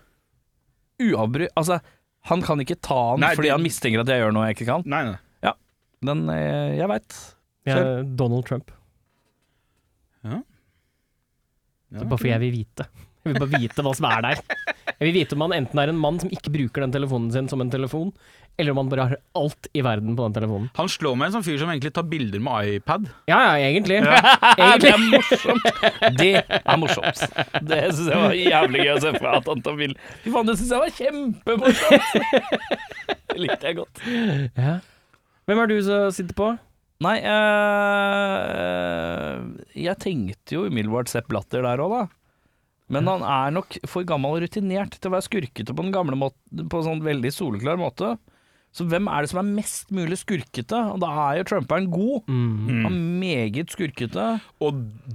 S1: Uavbrutt Altså, han kan ikke ta den
S3: Nei,
S1: fordi
S3: det-
S1: han mistenker at jeg gjør noe jeg ikke kan.
S3: Nei, nei.
S1: Den eh, Jeg veit.
S2: jeg er Donald Trump.
S3: Ja.
S2: Det er bare fordi jeg vil vite. Jeg vil bare vite hva som er der. Jeg vil vite om han enten er en mann som ikke bruker den telefonen sin som en telefon, eller om han bare har alt i verden på den telefonen.
S3: Han slår meg en sånn fyr som egentlig tar bilder med iPad.
S2: Ja, ja, egentlig.
S1: Det
S2: egentlig.
S1: er morsomt. Det er morsomt. Det syns jeg var jævlig gøy å se for meg at han tar bilde. Fy faen, det syns jeg var kjempemorsomt. Det likte jeg godt.
S2: Ja. Hvem er du som sitter på?
S1: Nei, eh, jeg tenkte jo umiddelbart Sepp Blatter der òg, da. Men han er nok for gammel og rutinert til å være skurkete på en gamle måte, på en sånn veldig soleklar måte. Så hvem er det som er mest mulig skurkete? Og da er jo Trumperen god.
S2: Mm.
S1: Han er meget skurkete.
S3: Og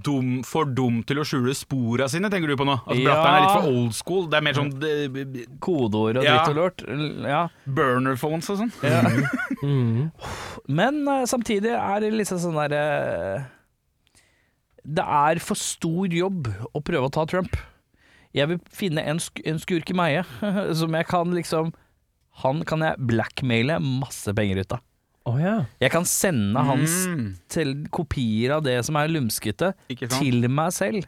S3: dum, for dum til å skjule spora sine, tenker du på nå? At
S1: Ja.
S3: Blatteren er litt for old school. Det er mer sånn eh,
S1: Kodeord og
S3: Ja.
S1: dritt og lort. L- Ja.
S3: burner phones og sånn.
S2: Mm.
S1: Men eh, samtidig er det liksom sånn der eh, Det er for stor jobb å prøve å ta Trump. Jeg vil finne en, sk en skurk i meg som jeg kan liksom Han kan jeg blackmaile masse penger ut av.
S2: Å ja.
S1: Jeg kan sende hans
S3: Mm.
S1: til kopier av det som er lumskete,
S3: Ikke sant?
S1: til meg selv.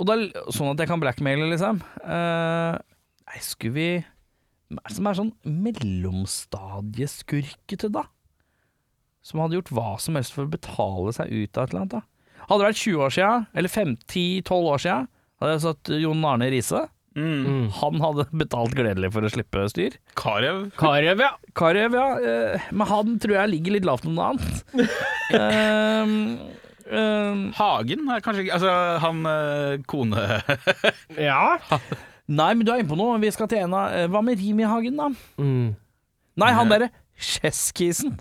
S1: Og da, sånn at jeg kan blackmaile, liksom. Eh, nei, skulle vi Hva er det som er sånn mellomstadieskurkete, da? Som hadde gjort hva som helst for å betale seg ut av et eller annet, da. Hadde det vært 20 år sia, eller 10-12 år sia, hadde jeg satt Jon Arne Riise.
S3: Mm.
S1: Han hadde betalt gledelig for å slippe styr.
S3: Karev.
S2: Karev, ja.
S1: Karev, ja. eh, Men han tror jeg ligger litt lavt om noe annet. Eh, eh,
S3: Hagen er kanskje ikke Altså, han eh, kone
S2: Ja.
S1: nei, men du er inne på noe. Vi skal til en av eh, Hva med Rimi-Hagen, da?
S2: Mm.
S1: Nei, han derre Cheskisen.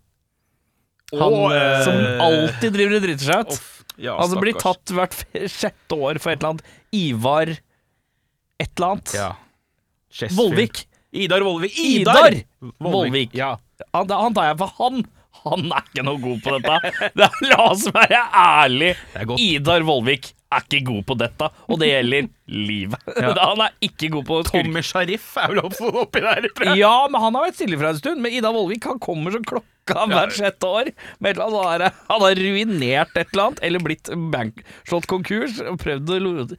S2: Han,
S3: eh,
S1: Som alltid driver og driter seg ut.
S3: Off. Ja,
S1: altså blir
S3: stakkars.
S1: tatt hvert f- sjette år for et eller annet. Ivar et eller annet.
S3: Ja. Chessfield.
S1: Vollvik.
S3: Idar Vollvik.
S1: Idar Vollvik.
S3: Ja.
S1: Han, han tar jeg for han. Han er ikke noe god på dette. Det er, la oss være ærlige.
S3: Det er godt.
S1: Idar Vollvik er ikke god på dette, og det gjelder livet. Han er ikke god på skurk.
S3: Tommy Sharif er vel opp- oppi der, tror jeg.
S1: Ja, men han har vært stille fra en stund. Men Ida Vollvik han kommer som klokka hvert sjette år. Med et eller annet, sånn der. han har ruinert et eller annet, eller blitt bankslått konkurs. og Prøvd å lo-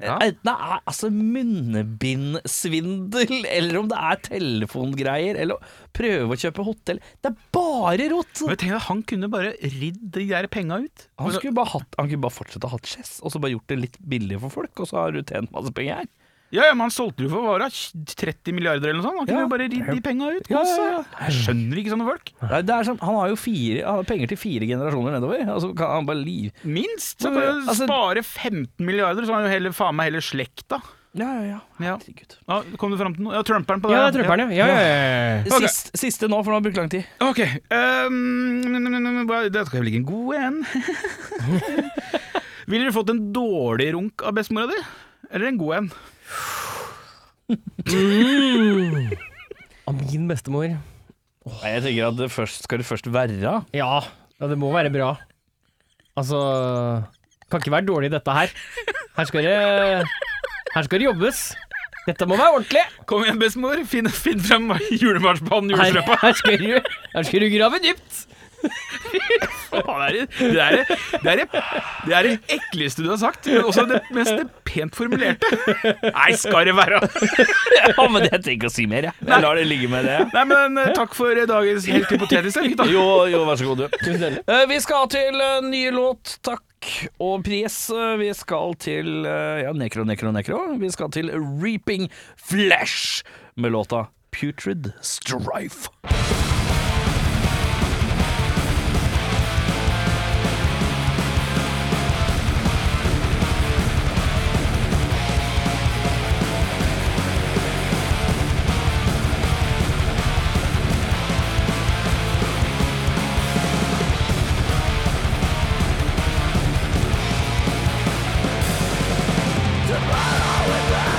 S1: Enten det er altså munnbindsvindel, eller om det er telefongreier, eller å prøve å kjøpe hotell Det er bare rot!
S3: Men tenk deg, han kunne bare ridd de der penga ut.
S1: Han, skulle bare hatt, han kunne bare fortsette å ha chess, og så bare gjort det litt billig for folk, og så har du tjent masse penger.
S3: Ja, ja, men han solgte jo for vara 30 milliarder eller noe sånt. Han kunne
S1: Ja.
S3: jo bare ridd de penga ut.
S1: Ja,
S3: kose
S1: ja, ja.
S3: seg. Jeg skjønner ikke sånne folk.
S1: Nei, Det er sånn, han har jo fire, han har penger til fire generasjoner nedover. Altså, kan han bare liv...
S3: Minst. Så
S1: Men,
S3: kan du
S1: altså-
S3: spare 15 milliarder, så har han jo heller faen meg heller slekta.
S1: Ja, ja, ja.
S3: Ja.
S1: Herregud.
S3: Ja, kom du fram til noe? Ja, Trumperen på det.
S2: Ja, det er trumperen, ja. Ja, ja, ja, ja.
S3: Ok.
S1: Sist, siste nå, for nå har jeg brukt lang tid.
S3: Ok. ehm, mm, mm, mm, hva- det skal vel ikke en god en? Ville du fått en dårlig runk av bestemora di? Eller en god en?
S2: Av min bestemor.
S1: Nei, jeg tenker at det først, Skal det først være?
S2: Ja. ja, det må være bra. Altså Kan ikke være dårlig dette her. Her skal det Her skal det jobbes. Dette må være ordentlig.
S3: Kom igjen, bestemor. Finn, finn frem julemarsipanen,
S2: Her,
S3: julesløpa.
S2: her, skal du, her skal du grave dypt.
S3: Faen, Det er det, er, det, er, det er det ekleste du har sagt, men også det mest pent formulerte. Nei, skal det være.
S1: Ja, men jeg trenger ikke å si mer, jeg. Jeg lar det ligge med det.
S3: Nei, men eh, takk for eh, dagens helt hypotetiske. da.
S1: Jo, jo, vær så god, du.
S2: Tusen hjertelig.
S1: Eh, Vi skal til eh, ny låt, takk og pris. Eh, Vi skal til eh, ja, Nekro, Nekro, Nekro. Vi skal til Reaping Flesh med låta Putrid Strife.
S4: The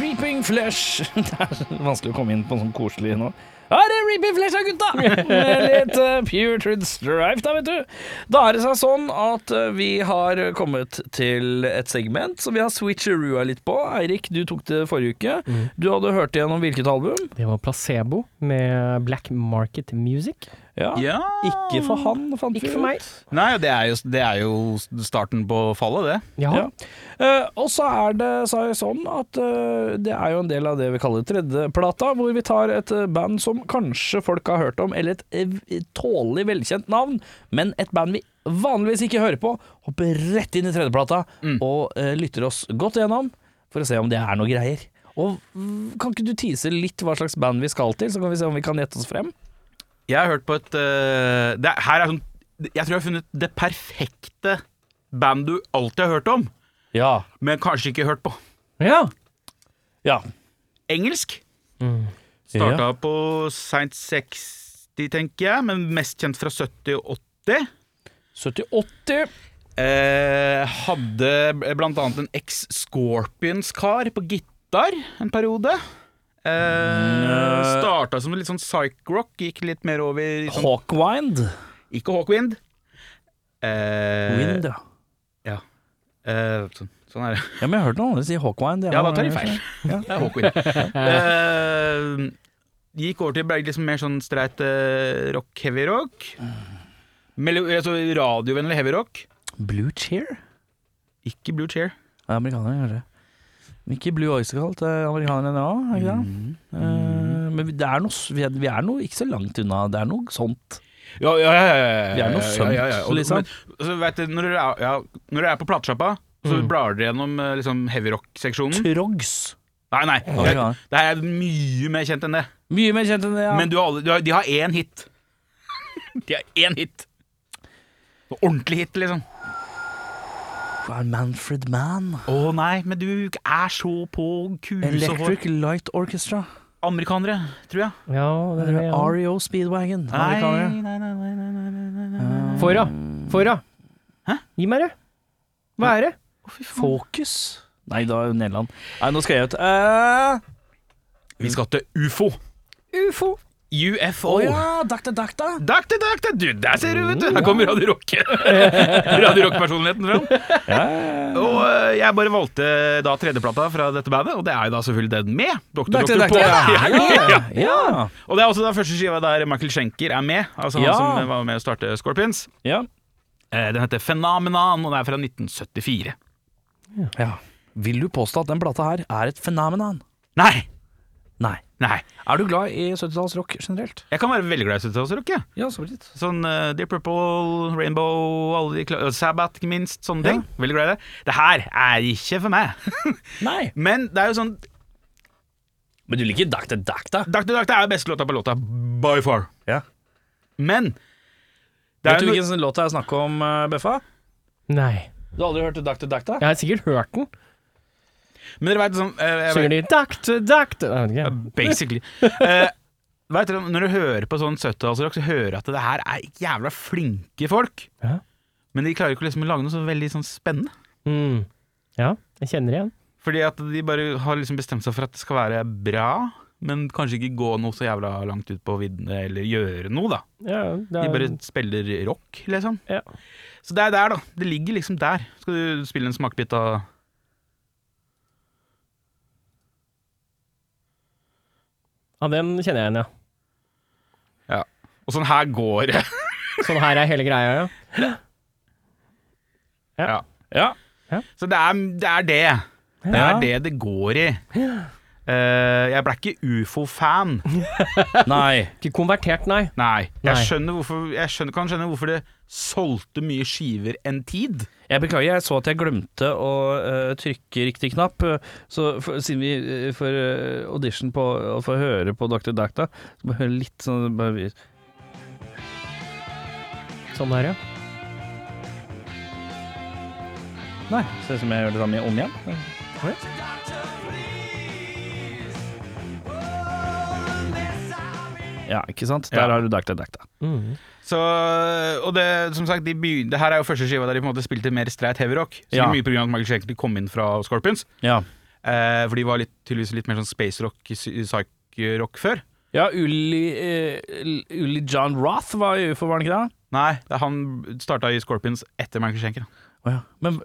S1: Reaping Flesh. Det er så vanskelig å komme inn på en sånn koselig nå. Her er Reaping Flesh av gutta! Med litt eh, Pure Truth Strife, da, vet du. Da er det seg sånn at eh, vi har kommet til et segment som vi har switcherua litt på. Eirik, du tok det forrige uke.
S2: Mm.
S1: Du hadde hørt igjennom hvilket album?
S2: Det var Placebo med Black Market Music.
S1: Ja.
S3: Ja.
S1: Ikke for han, fant vi
S2: Ikke for
S1: ut.
S2: meg.
S3: Nei, det er, jo, det er jo starten på fallet, det.
S2: Ja.
S1: Ja. Eh, og så er det så er det sånn at eh, det er jo en del av det vi kaller tredjeplata, hvor vi tar et eh, band som kanskje folk har hørt om, eller et eh, tålelig velkjent navn, men et band vi vanligvis ikke hører på, hopper rett inn i tredjeplata og eh, lytter oss godt gjennom for å se om det er noe greier. Og mm, Kan ikke du tease litt hva slags band vi skal til, så kan vi se om vi kan gjette oss frem?
S3: Jeg har hørt på et eh, det er, Her er sånn Jeg tror jeg har funnet det perfekte band du alltid har hørt om,
S1: Ja.
S3: men kanskje ikke hørt på.
S2: ja.
S1: Ja.
S3: Engelsk. Starta på seint 60, tenker jeg, men mest kjent fra 70 og 80.
S1: 70-80.
S3: Eh, hadde blant annet en eks-Scorpions-kar på gitar en periode. Eh, starta som litt sånn psych-rock, gikk litt mer over i sånn,
S1: Hawkwind.
S3: Ikke Hawkwind. Eh,
S1: Wind, ja.
S3: Eh, sånn, sånn er det.
S1: Ja, men jeg har hørt noen andre si Hawkwind.
S3: Ja, da tar de feil. Det er Hawkwind. Eh, gikk over til ble liksom mer sånn streit eh, rock, heavy rock. Melo, altså radiovennlig heavy rock.
S1: Blue Cheer?
S3: Ikke Blue Cheer.
S1: Det er amerikanere, kanskje. Men ikke Blue Oyster Cult, det er amerikanerne òg, er ikke det?
S3: Mm-hmm.
S1: Eh, men det er noe, s- vi, er, vi er noe ikke så langt unna. Det er noe sånt.
S3: Ja, ja, ja, ja, ja,
S1: Vi er noe
S3: ja, ja, ja.
S1: sunt,
S3: Og-
S1: liksom.
S3: men, altså, vet du, når, dere er, ja, når dere er på platesjappa, så blar dere gjennom eh, liksom, heavy rock-seksjonen.
S1: Trogs.
S3: Nei, nei. Det
S1: ja.
S3: er, det her er mye mer kjent enn det.
S1: Mye mer kjent enn det, ja.
S3: Men du har, alle- du har, de har én hit. De har én hit. Ordentlig hit, liksom.
S1: Hva er Manfred Mann?
S3: Å nei, men du er så på kuse og hår.
S1: Electric Light Orchestra.
S3: Amerikanere, tror jeg.
S2: ja det er det, ja.
S1: REO Speedwagon.
S3: Nei, nei,
S1: Amerikanere.
S3: nei, nei, nei, nei, nei, nei.
S2: Fora. Fora.
S3: Hæ?
S2: Gi meg det. Hva er det?
S1: Focus. Nei, da er jo Nederland. Nei, nå skal jeg ut. Eh,
S3: Vi skal til ufo.
S2: Ufo.
S3: UFO.
S1: Å ja, Dakta Dakta.
S3: Dakte, dakte, du, der ser du, vet du! Her kommer Radio Rock. Radio Rock-personligheten fram. Og eh, jeg bare valgte da tredjeplata fra dette bandet, og det er jo da selvfølgelig den med. Dr.
S1: Dakta,
S3: Doctor
S1: dakta.
S3: på.
S1: Ja, ja, ja. ja.
S3: Og det er også da første skiva der Michael Schenker er med, altså han
S1: Ja.
S3: som var med å starte Scorpions.
S1: ja.
S3: Eh, Den heter Phenomenon, og den er fra 1974.
S1: Vil du påstå at den plata her er et fenomen?
S3: Nei!
S1: Nei.
S3: Nei.
S1: Er du glad i 70-tallsrock generelt?
S3: Jeg kan være veldig glad i 70-tallsrock, jeg.
S1: Ja, så vidt.
S3: Sånn uh, Dear Purple, Rainbow, alle de kla- Sabbath, ikke minst. Sånne ting. Veldig glad i det. Det her er ikke for meg.
S1: Nei.
S3: Men det er jo sånn
S1: Men du liker Dakta Dakta?
S3: Dr. Dr. er beste låta på låta, by far.
S1: Ja.
S3: Men det
S1: Vet
S3: er
S1: du
S3: jo
S1: hvilken sånn låt det er snakk om, eh, Beffa?
S2: Nei.
S1: Du har aldri hørt Dakta Dakta?
S2: Jeg har sikkert hørt den.
S3: Men dere veit sånn eh, jeg
S2: Synger de Doctor, doctor Nei, jeg vet ikke.
S3: vet- Basically. Eh, vet dere, når du hører på sånn 70-tallsrock, så hører du at det her er jævla flinke folk.
S2: Ja.
S3: Men de klarer ikke liksom å lage noe så veldig sånn spennende.
S2: Mm. Ja, jeg kjenner igjen.
S3: Fordi at de bare har liksom bestemt seg for at det skal være bra, men kanskje ikke gå noe så jævla langt ut på viddene, eller gjøre noe, da.
S2: Ja, det
S3: De
S2: er,
S3: bare spiller rock, liksom.
S2: Ja.
S3: Så det er der, da. Det ligger liksom der. Skal du spille en smakebit av
S2: ja, den kjenner jeg igjen, ja.
S3: Og sånn her går det.
S2: Sånn her er hele greia, ja.
S1: Ja.
S3: Så det er det. Er det. det
S1: Ja.
S3: er det det går i. Eh, jeg ble ikke ufo-fan.
S1: Nei.
S2: Ikke konvertert, nei.
S3: Nei. Jeg,
S2: Nei.
S3: skjønner hvorfor, jeg skjønner, kan skjønne hvorfor det solgte mye skiver en tid.
S1: Jeg beklager, jeg så at jeg glemte å eh, trykke riktig knapp. eh, Så for, siden vi eh, får eh, audition på å få høre på Dr. Dakta, så må vi høre litt sånn bare, vi-
S2: Sånn her, ja.
S1: Nei, ser ut som jeg gjør det samme om igjen. Ja, ikke sant? Der
S3: Ja.
S1: har du Dakta Dakta.
S2: Mm.
S3: Så, og det, som sagt, de begy- det her er jo første skiva der de på en måte spilte mer streit heavyrock.
S1: Ja.
S3: Mye på grunn av at Michael Shankly kom inn fra Scorpions.
S1: Ja.
S3: Eh, for de var litt, tydeligvis litt mer sånn space rock, psych-rock før.
S1: Ja, Uli, eh, Uli John Roth var jo ufo, var han ikke det?
S3: Nei, det, er han starta i Scorpions etter Michael Schenker.
S1: Å ja. Men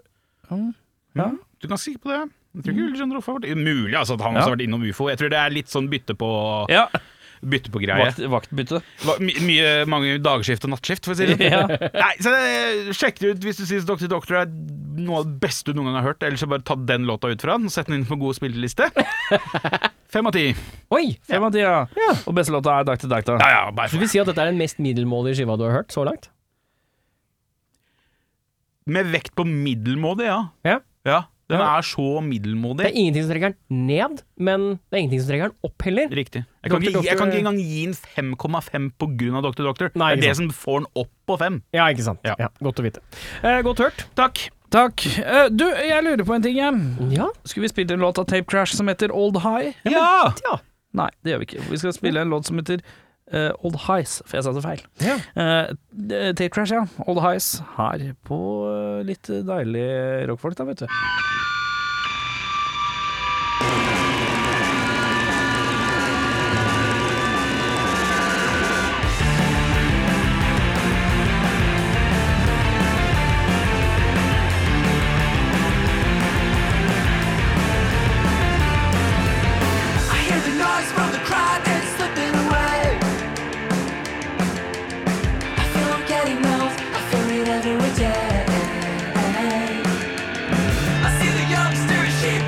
S1: Ja.
S3: Du kan si på det. Jeg tror ikke John Rolfe har vært Mulig altså, at han også
S1: Mm. Ja.
S3: har vært innom ufo. Jeg tror det er litt sånn bytte på,
S1: ja.
S3: bytte på greie.
S1: Vakt, vaktbytte.
S3: Va- My, mye, mange dagskift og nattskift, for å si det sånn.
S1: Ja.
S3: Nei, så eh, sjekk det ut hvis du syns Dr. Doctor er noe av det beste du noen gang har hørt. Ellers så bare ta den låta ut fra den, og sett den inn på god spilleliste. Fem av ti.
S2: Oi!
S1: Fem av ti, ja. Og beste låta er Dakta Dakta.
S3: Ja, ja, bare
S2: Du vil si at dette er den mest middelmådige skiva du har hørt så langt?
S3: Med vekt på middelmådig, ja.
S2: Ja.
S3: ja. Den
S2: Ja.
S3: er så
S2: Det
S3: middelmådig.
S2: er ingenting som trekker den ned, men det er ingenting som trekker den opp heller.
S3: Riktig. Jeg
S2: Dr.
S3: kan, ikke, jeg kan
S2: Doctor-
S3: ikke engang gi den 5,5 på grunn av Dr. Doctor.
S2: Nei,
S3: det
S2: ikke
S3: er det som får den opp på 5.
S2: Ja, ikke sant.
S3: Ja.
S2: Ja, godt å vite. Eh, godt hørt.
S3: Takk.
S1: Takk. Eh, du, jeg lurer på en ting, jeg.
S2: Ja.
S1: Skulle vi spilt en låt av Tape Crash som heter Old High?
S3: Ja!
S2: ja.
S1: Nei, det gjør vi ikke. Vi skal spille en låt som heter eh, Old Highs, for jeg sa det feil.
S2: Ja.
S1: Eh, eh, Tape Crash, ja. Old Highs her på eh, litt deilig rockfolk, da, vet du.
S4: I hear the noise from the crowd that's slipping away. I feel I'm getting old. I feel it every day. I see the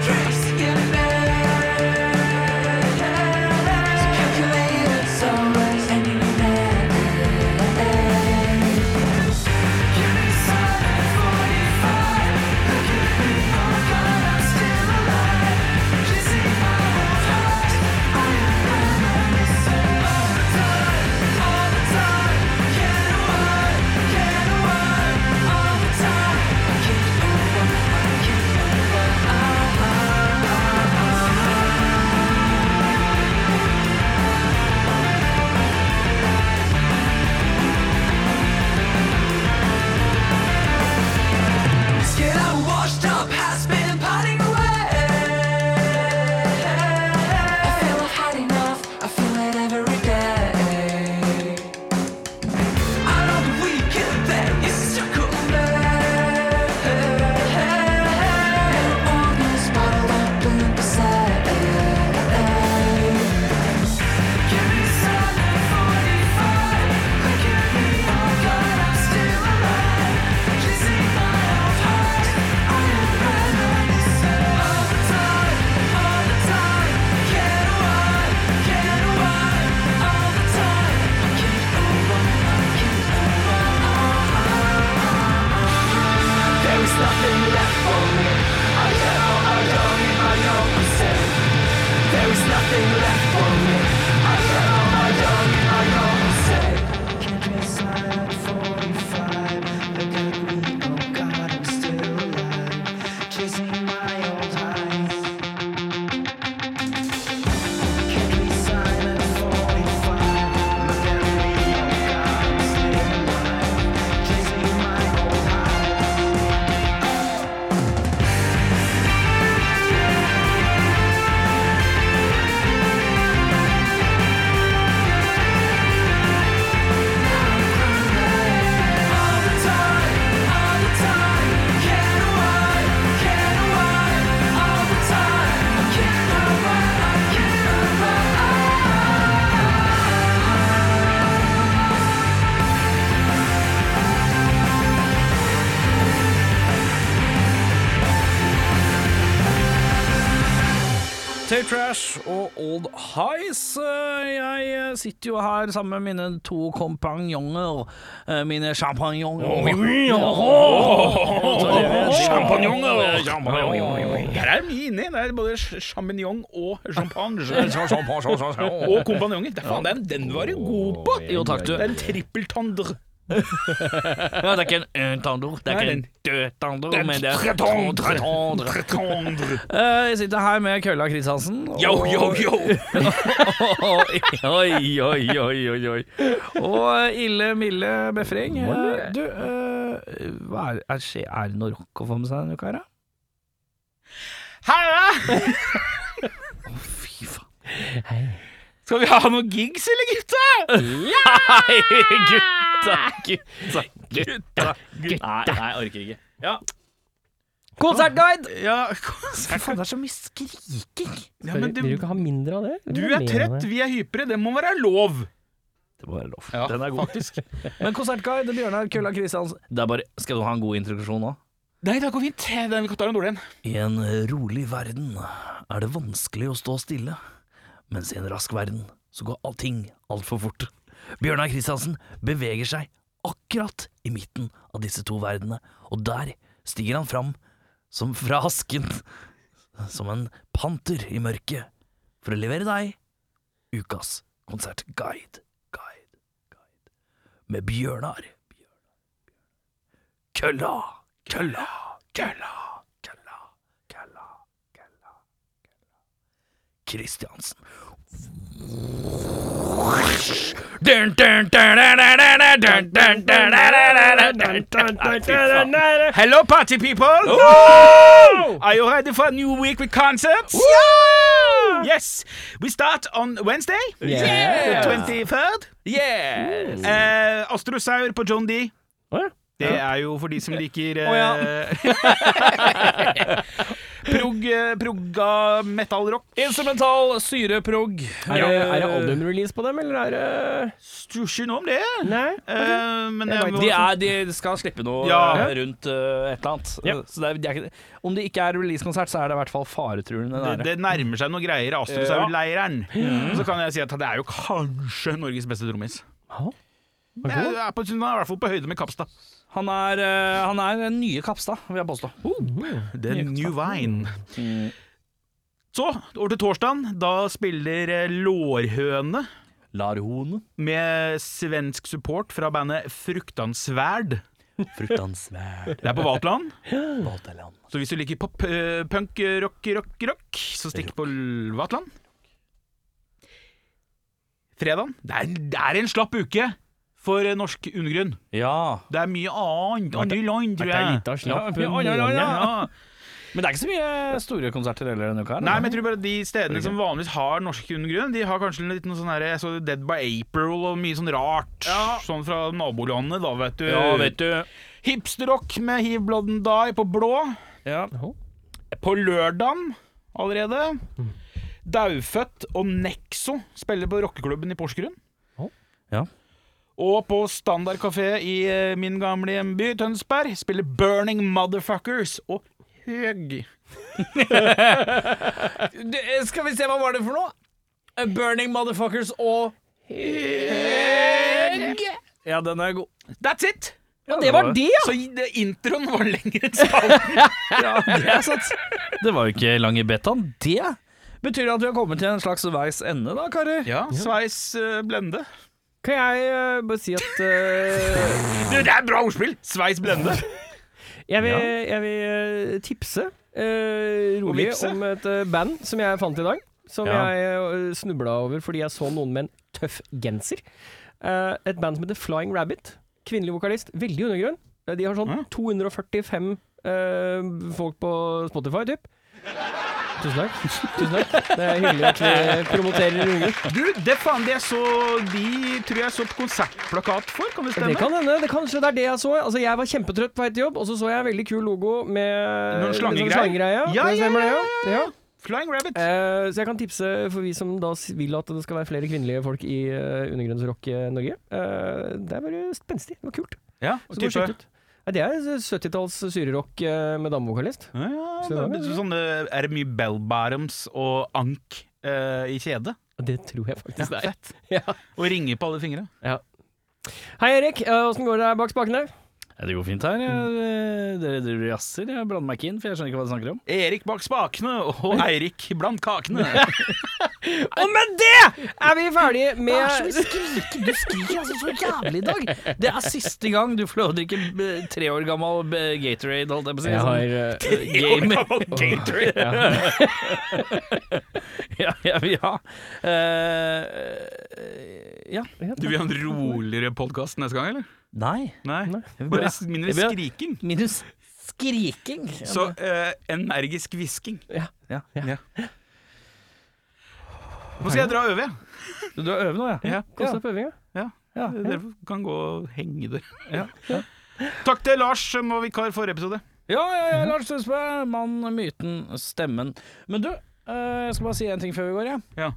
S1: Trash og Old Highs. Eh, Jeg eh, sitter jo her sammen med mine to kompanjonger. eh, Mine champagnonger. Champagnonger!
S3: Der er mye inni. Det er både ch- champignon og champagne.
S1: Sånn,
S3: Og kompanjonger. Det, er faen, den, den var du god på!
S1: Jo, takk, du.
S3: Det er en trippeltandr.
S1: Ja, det er ikke en øntandor, det er ikke en dødtandor, men det er tretandre.
S3: Tretandr.
S1: Eh, Jeg sitter her med kølla Kristiansen. og-
S3: Yo, yo, yo!
S1: oi, oi, oi, oi, oi, oi. Og Ille Mille Befring. eh, Du, eh, hva er, er, skje- er det noe rock å få med seg denne uka her, da?
S3: Hei!
S1: Fy faen.
S3: Skal vi ha noen gigs, eller, gutta?
S1: Nei, gutta, gutta, gutta. Nei, nei, jeg orker ikke.
S2: Konsertguide!
S3: Ja,
S1: Fy faen, det er så mye skriking.
S3: ja men du,
S2: Vil du ikke ha mindre av det?
S3: du er trøtt, vi er hypere. Det må være lov.
S1: Det må være lov.
S3: Ja,
S1: Den er god. Men konsertguide, Bjørnar Kølla Kristiansen. Det er bare, skal du ha en god introduksjon nå?
S3: Nei, det går fint. Den tar en dårlig en.
S1: I en rolig verden er det vanskelig å stå stille, mens i en rask verden så går all- ting altfor fort. Bjørnar Kristiansen beveger seg akkurat i midten av disse to verdenene, og der stiger han fram som fra asken, som en panter i mørket, for å levere deg ukas konsertguide, guide, guide, med Bjørnar. Bjørnar, Bjørnar. Kølla, kølla, kølla, kølla, kølla, kølla, kølla. Kristiansen. Dun, dun, dun, dun, dun, dun, dun, dun, dun, dun, dun, dun, dun, dun, dun.
S3: Hello, party people! Are you ready for a new week with concerts? Yes! We start on Wednesday,
S2: Yeah.
S3: the 23rd.
S1: Yes!
S3: Eh, Astrosaur på John D.
S2: Å ja.
S3: Det er jo for de som liker eh,
S1: Å
S3: prog, eh, progga metal-rock.
S1: Instrumental syreprog.
S2: Er det, er det albumrelease på dem, eller er det
S3: Stusjer noe om det.
S2: Nei.
S3: Eh, men
S2: Jeg
S3: jeg må-
S1: De, er, de skal slippe noe
S3: Ja.
S1: eh, rundt eh, et eller annet. Så det er, de er ikke, om det ikke er releasekonsert, så er det i hvert fall faretruende
S3: det,
S1: nære.
S3: det nærmer seg noe greier. Astrosaur-leiren. Så kan jeg si at det er jo kanskje Norges beste trommis.
S2: Å,
S3: Det er, det er på, han er i hvert fall på høyde med Kapstad.
S1: Han er, eh, han er den nye Kapstad, vil jeg påstå.
S2: Oh,
S3: The New Vine. Mm. Så, over til torsdagen. Da spiller eh, Lårhøne
S1: Larhone.
S3: med svensk support fra bandet Fruktansverd.
S1: Fruktansverd.
S3: Det er på Vatland.
S1: Baltaland.
S3: Så hvis du liker pop, eh, punk, eh, rock, rock, rock, så stikk på L- Vatland. Fredagen. Det er, det er en slapp uke for eh, norsk undergrunn.
S1: Ja.
S3: Det er mye annet. Andre land, tror
S2: Det er
S3: jeg.
S2: litt av slapp.
S1: Ja, ja, ja, ja, ja.
S3: Ja.
S1: Men det er ikke så mye store konserter heller denne uka. her,
S3: Nei, men
S1: eller?
S3: jeg tror bare de stedene som vanligvis har norsk undergrunn, de har kanskje litt noe sånn her Jeg så Dead by April og mye sånn rart. Sånn fra nabolandet, da, vet du.
S1: ja, vet du.
S3: Hipsterrock med Hiv Blood and Die på blå.
S1: Ja.
S3: På lørdagen allerede.
S2: Mm.
S3: Daufødt og Nexo spiller på rockeklubben i Porsgrunn.
S2: Å.
S1: Ja.
S3: Og på Standard kafé i eh, min gamle hjemby, Tønsberg, spiller Burning Motherfuckers og Høg.
S1: eh, skal vi se, hva var det for noe? Eh, Burning Motherfuckers og Ja, den er god.
S3: That's it!
S1: Ja,
S2: Det var det, ja!
S3: Så i- det- introen var lenger enn spalten.
S1: Ja, det er sant. Det var jo ikke lang i betaen, det. Betyr det at vi har kommet til en slags veis ende da, karer?
S3: ja, sveis eh, blende.
S2: Kan jeg eh, bare si at eh,
S3: Du, det er bra ordspill! Sveis blende.
S2: jeg, vil, jeg vil eh, tipse eh,
S3: Og
S2: rolig
S3: vipse.
S2: om et eh, band som jeg fant i dag. Som
S1: Ja.
S2: jeg uh, snubla over fordi jeg så noen med en tøff genser. Eh, et band som heter Flying Rabbit. Kvinnelig vokalist. Veldig undergrunn. Eh, De har sånn
S3: Ja.
S2: 245 eh, folk på Spotify, typ. Tusen takk. Tusen takk. Det er hyggelig at vi promoterer unge.
S3: Du, det faen det jeg så De tror jeg så på konsertplakat for, kan det
S2: Det
S3: stemme?
S2: kan hende. det Kanskje det er det jeg så. Altså, Jeg var kjempetrøtt på vei til jobb, og så så jeg en veldig kul logo med
S3: Noen
S2: med sånn
S3: slangegreier.
S2: slangegreie.
S3: Ja,
S2: Det
S3: ja,
S2: stemmer det,
S3: ja,
S2: ja. ja.
S3: Flying Rabbit.
S2: Eh, så jeg kan tipse for vi som da s- vil at det skal være flere kvinnelige folk i eh, uh, undergrunnsrock i Norge. Eh, det er Eh, bare spenstig. Det var kult.
S3: ja,
S2: Så
S3: og
S2: det var
S3: type
S2: sjukt ut. Nei, det er 70-talls syrerock eh, med damevokalist.
S3: Ja, ja,
S2: Skal du
S3: det
S2: ha?
S3: er sånn, eh, er det mye bell bottoms og ank eh, i kjede?
S2: Det tror jeg faktisk det er.
S3: Fett.
S2: Ja.
S3: Og ringer på alle fingre.
S2: Hei Erik, Eh, åssen går det der bak spakene?
S1: Ja, det går fint her. Jeg- eh, Dere driver og jazzer. Jeg blander meg ikke inn, for jeg skjønner ikke hva dere snakker om.
S3: Erik bak spakene og Eirik blant kakene.
S2: Og med det er vi ferdige med
S1: skriker du skriker altså så jævlig i dag? Det er siste gang du får lov til å drikke b- eh, tre år gammel b- Gatorade, holdt jeg på å si. sånn.
S2: Jeg har eh,
S1: Gamer.
S3: Gatorade.
S1: Ja, ja, ja. Eh, ja.
S3: Du vil ha en roligere podkast neste gang, eller?
S1: Nei.
S3: Nei.
S1: Bra.
S3: Bare s- mindre
S1: Jeg vil ha-
S3: skriking.
S1: Minus skriking. Ja,
S3: Så eh, energisk hvisking.
S1: ja.
S3: Nå skal jeg dra og øve, jeg.
S1: Du har øvd nå, ja?
S3: Ja.
S2: Kos deg på øvinga.
S3: Ja.
S1: Ja, ja.
S3: Dere kan gå og henge dere. Takk til Lars som var vikar forrige episode.
S1: Ja, ja, ja, Lars Tønsberg. Mann, myten, stemmen. Men du, eh, jeg skal bare si en ting før vi går, jeg.
S3: Ja.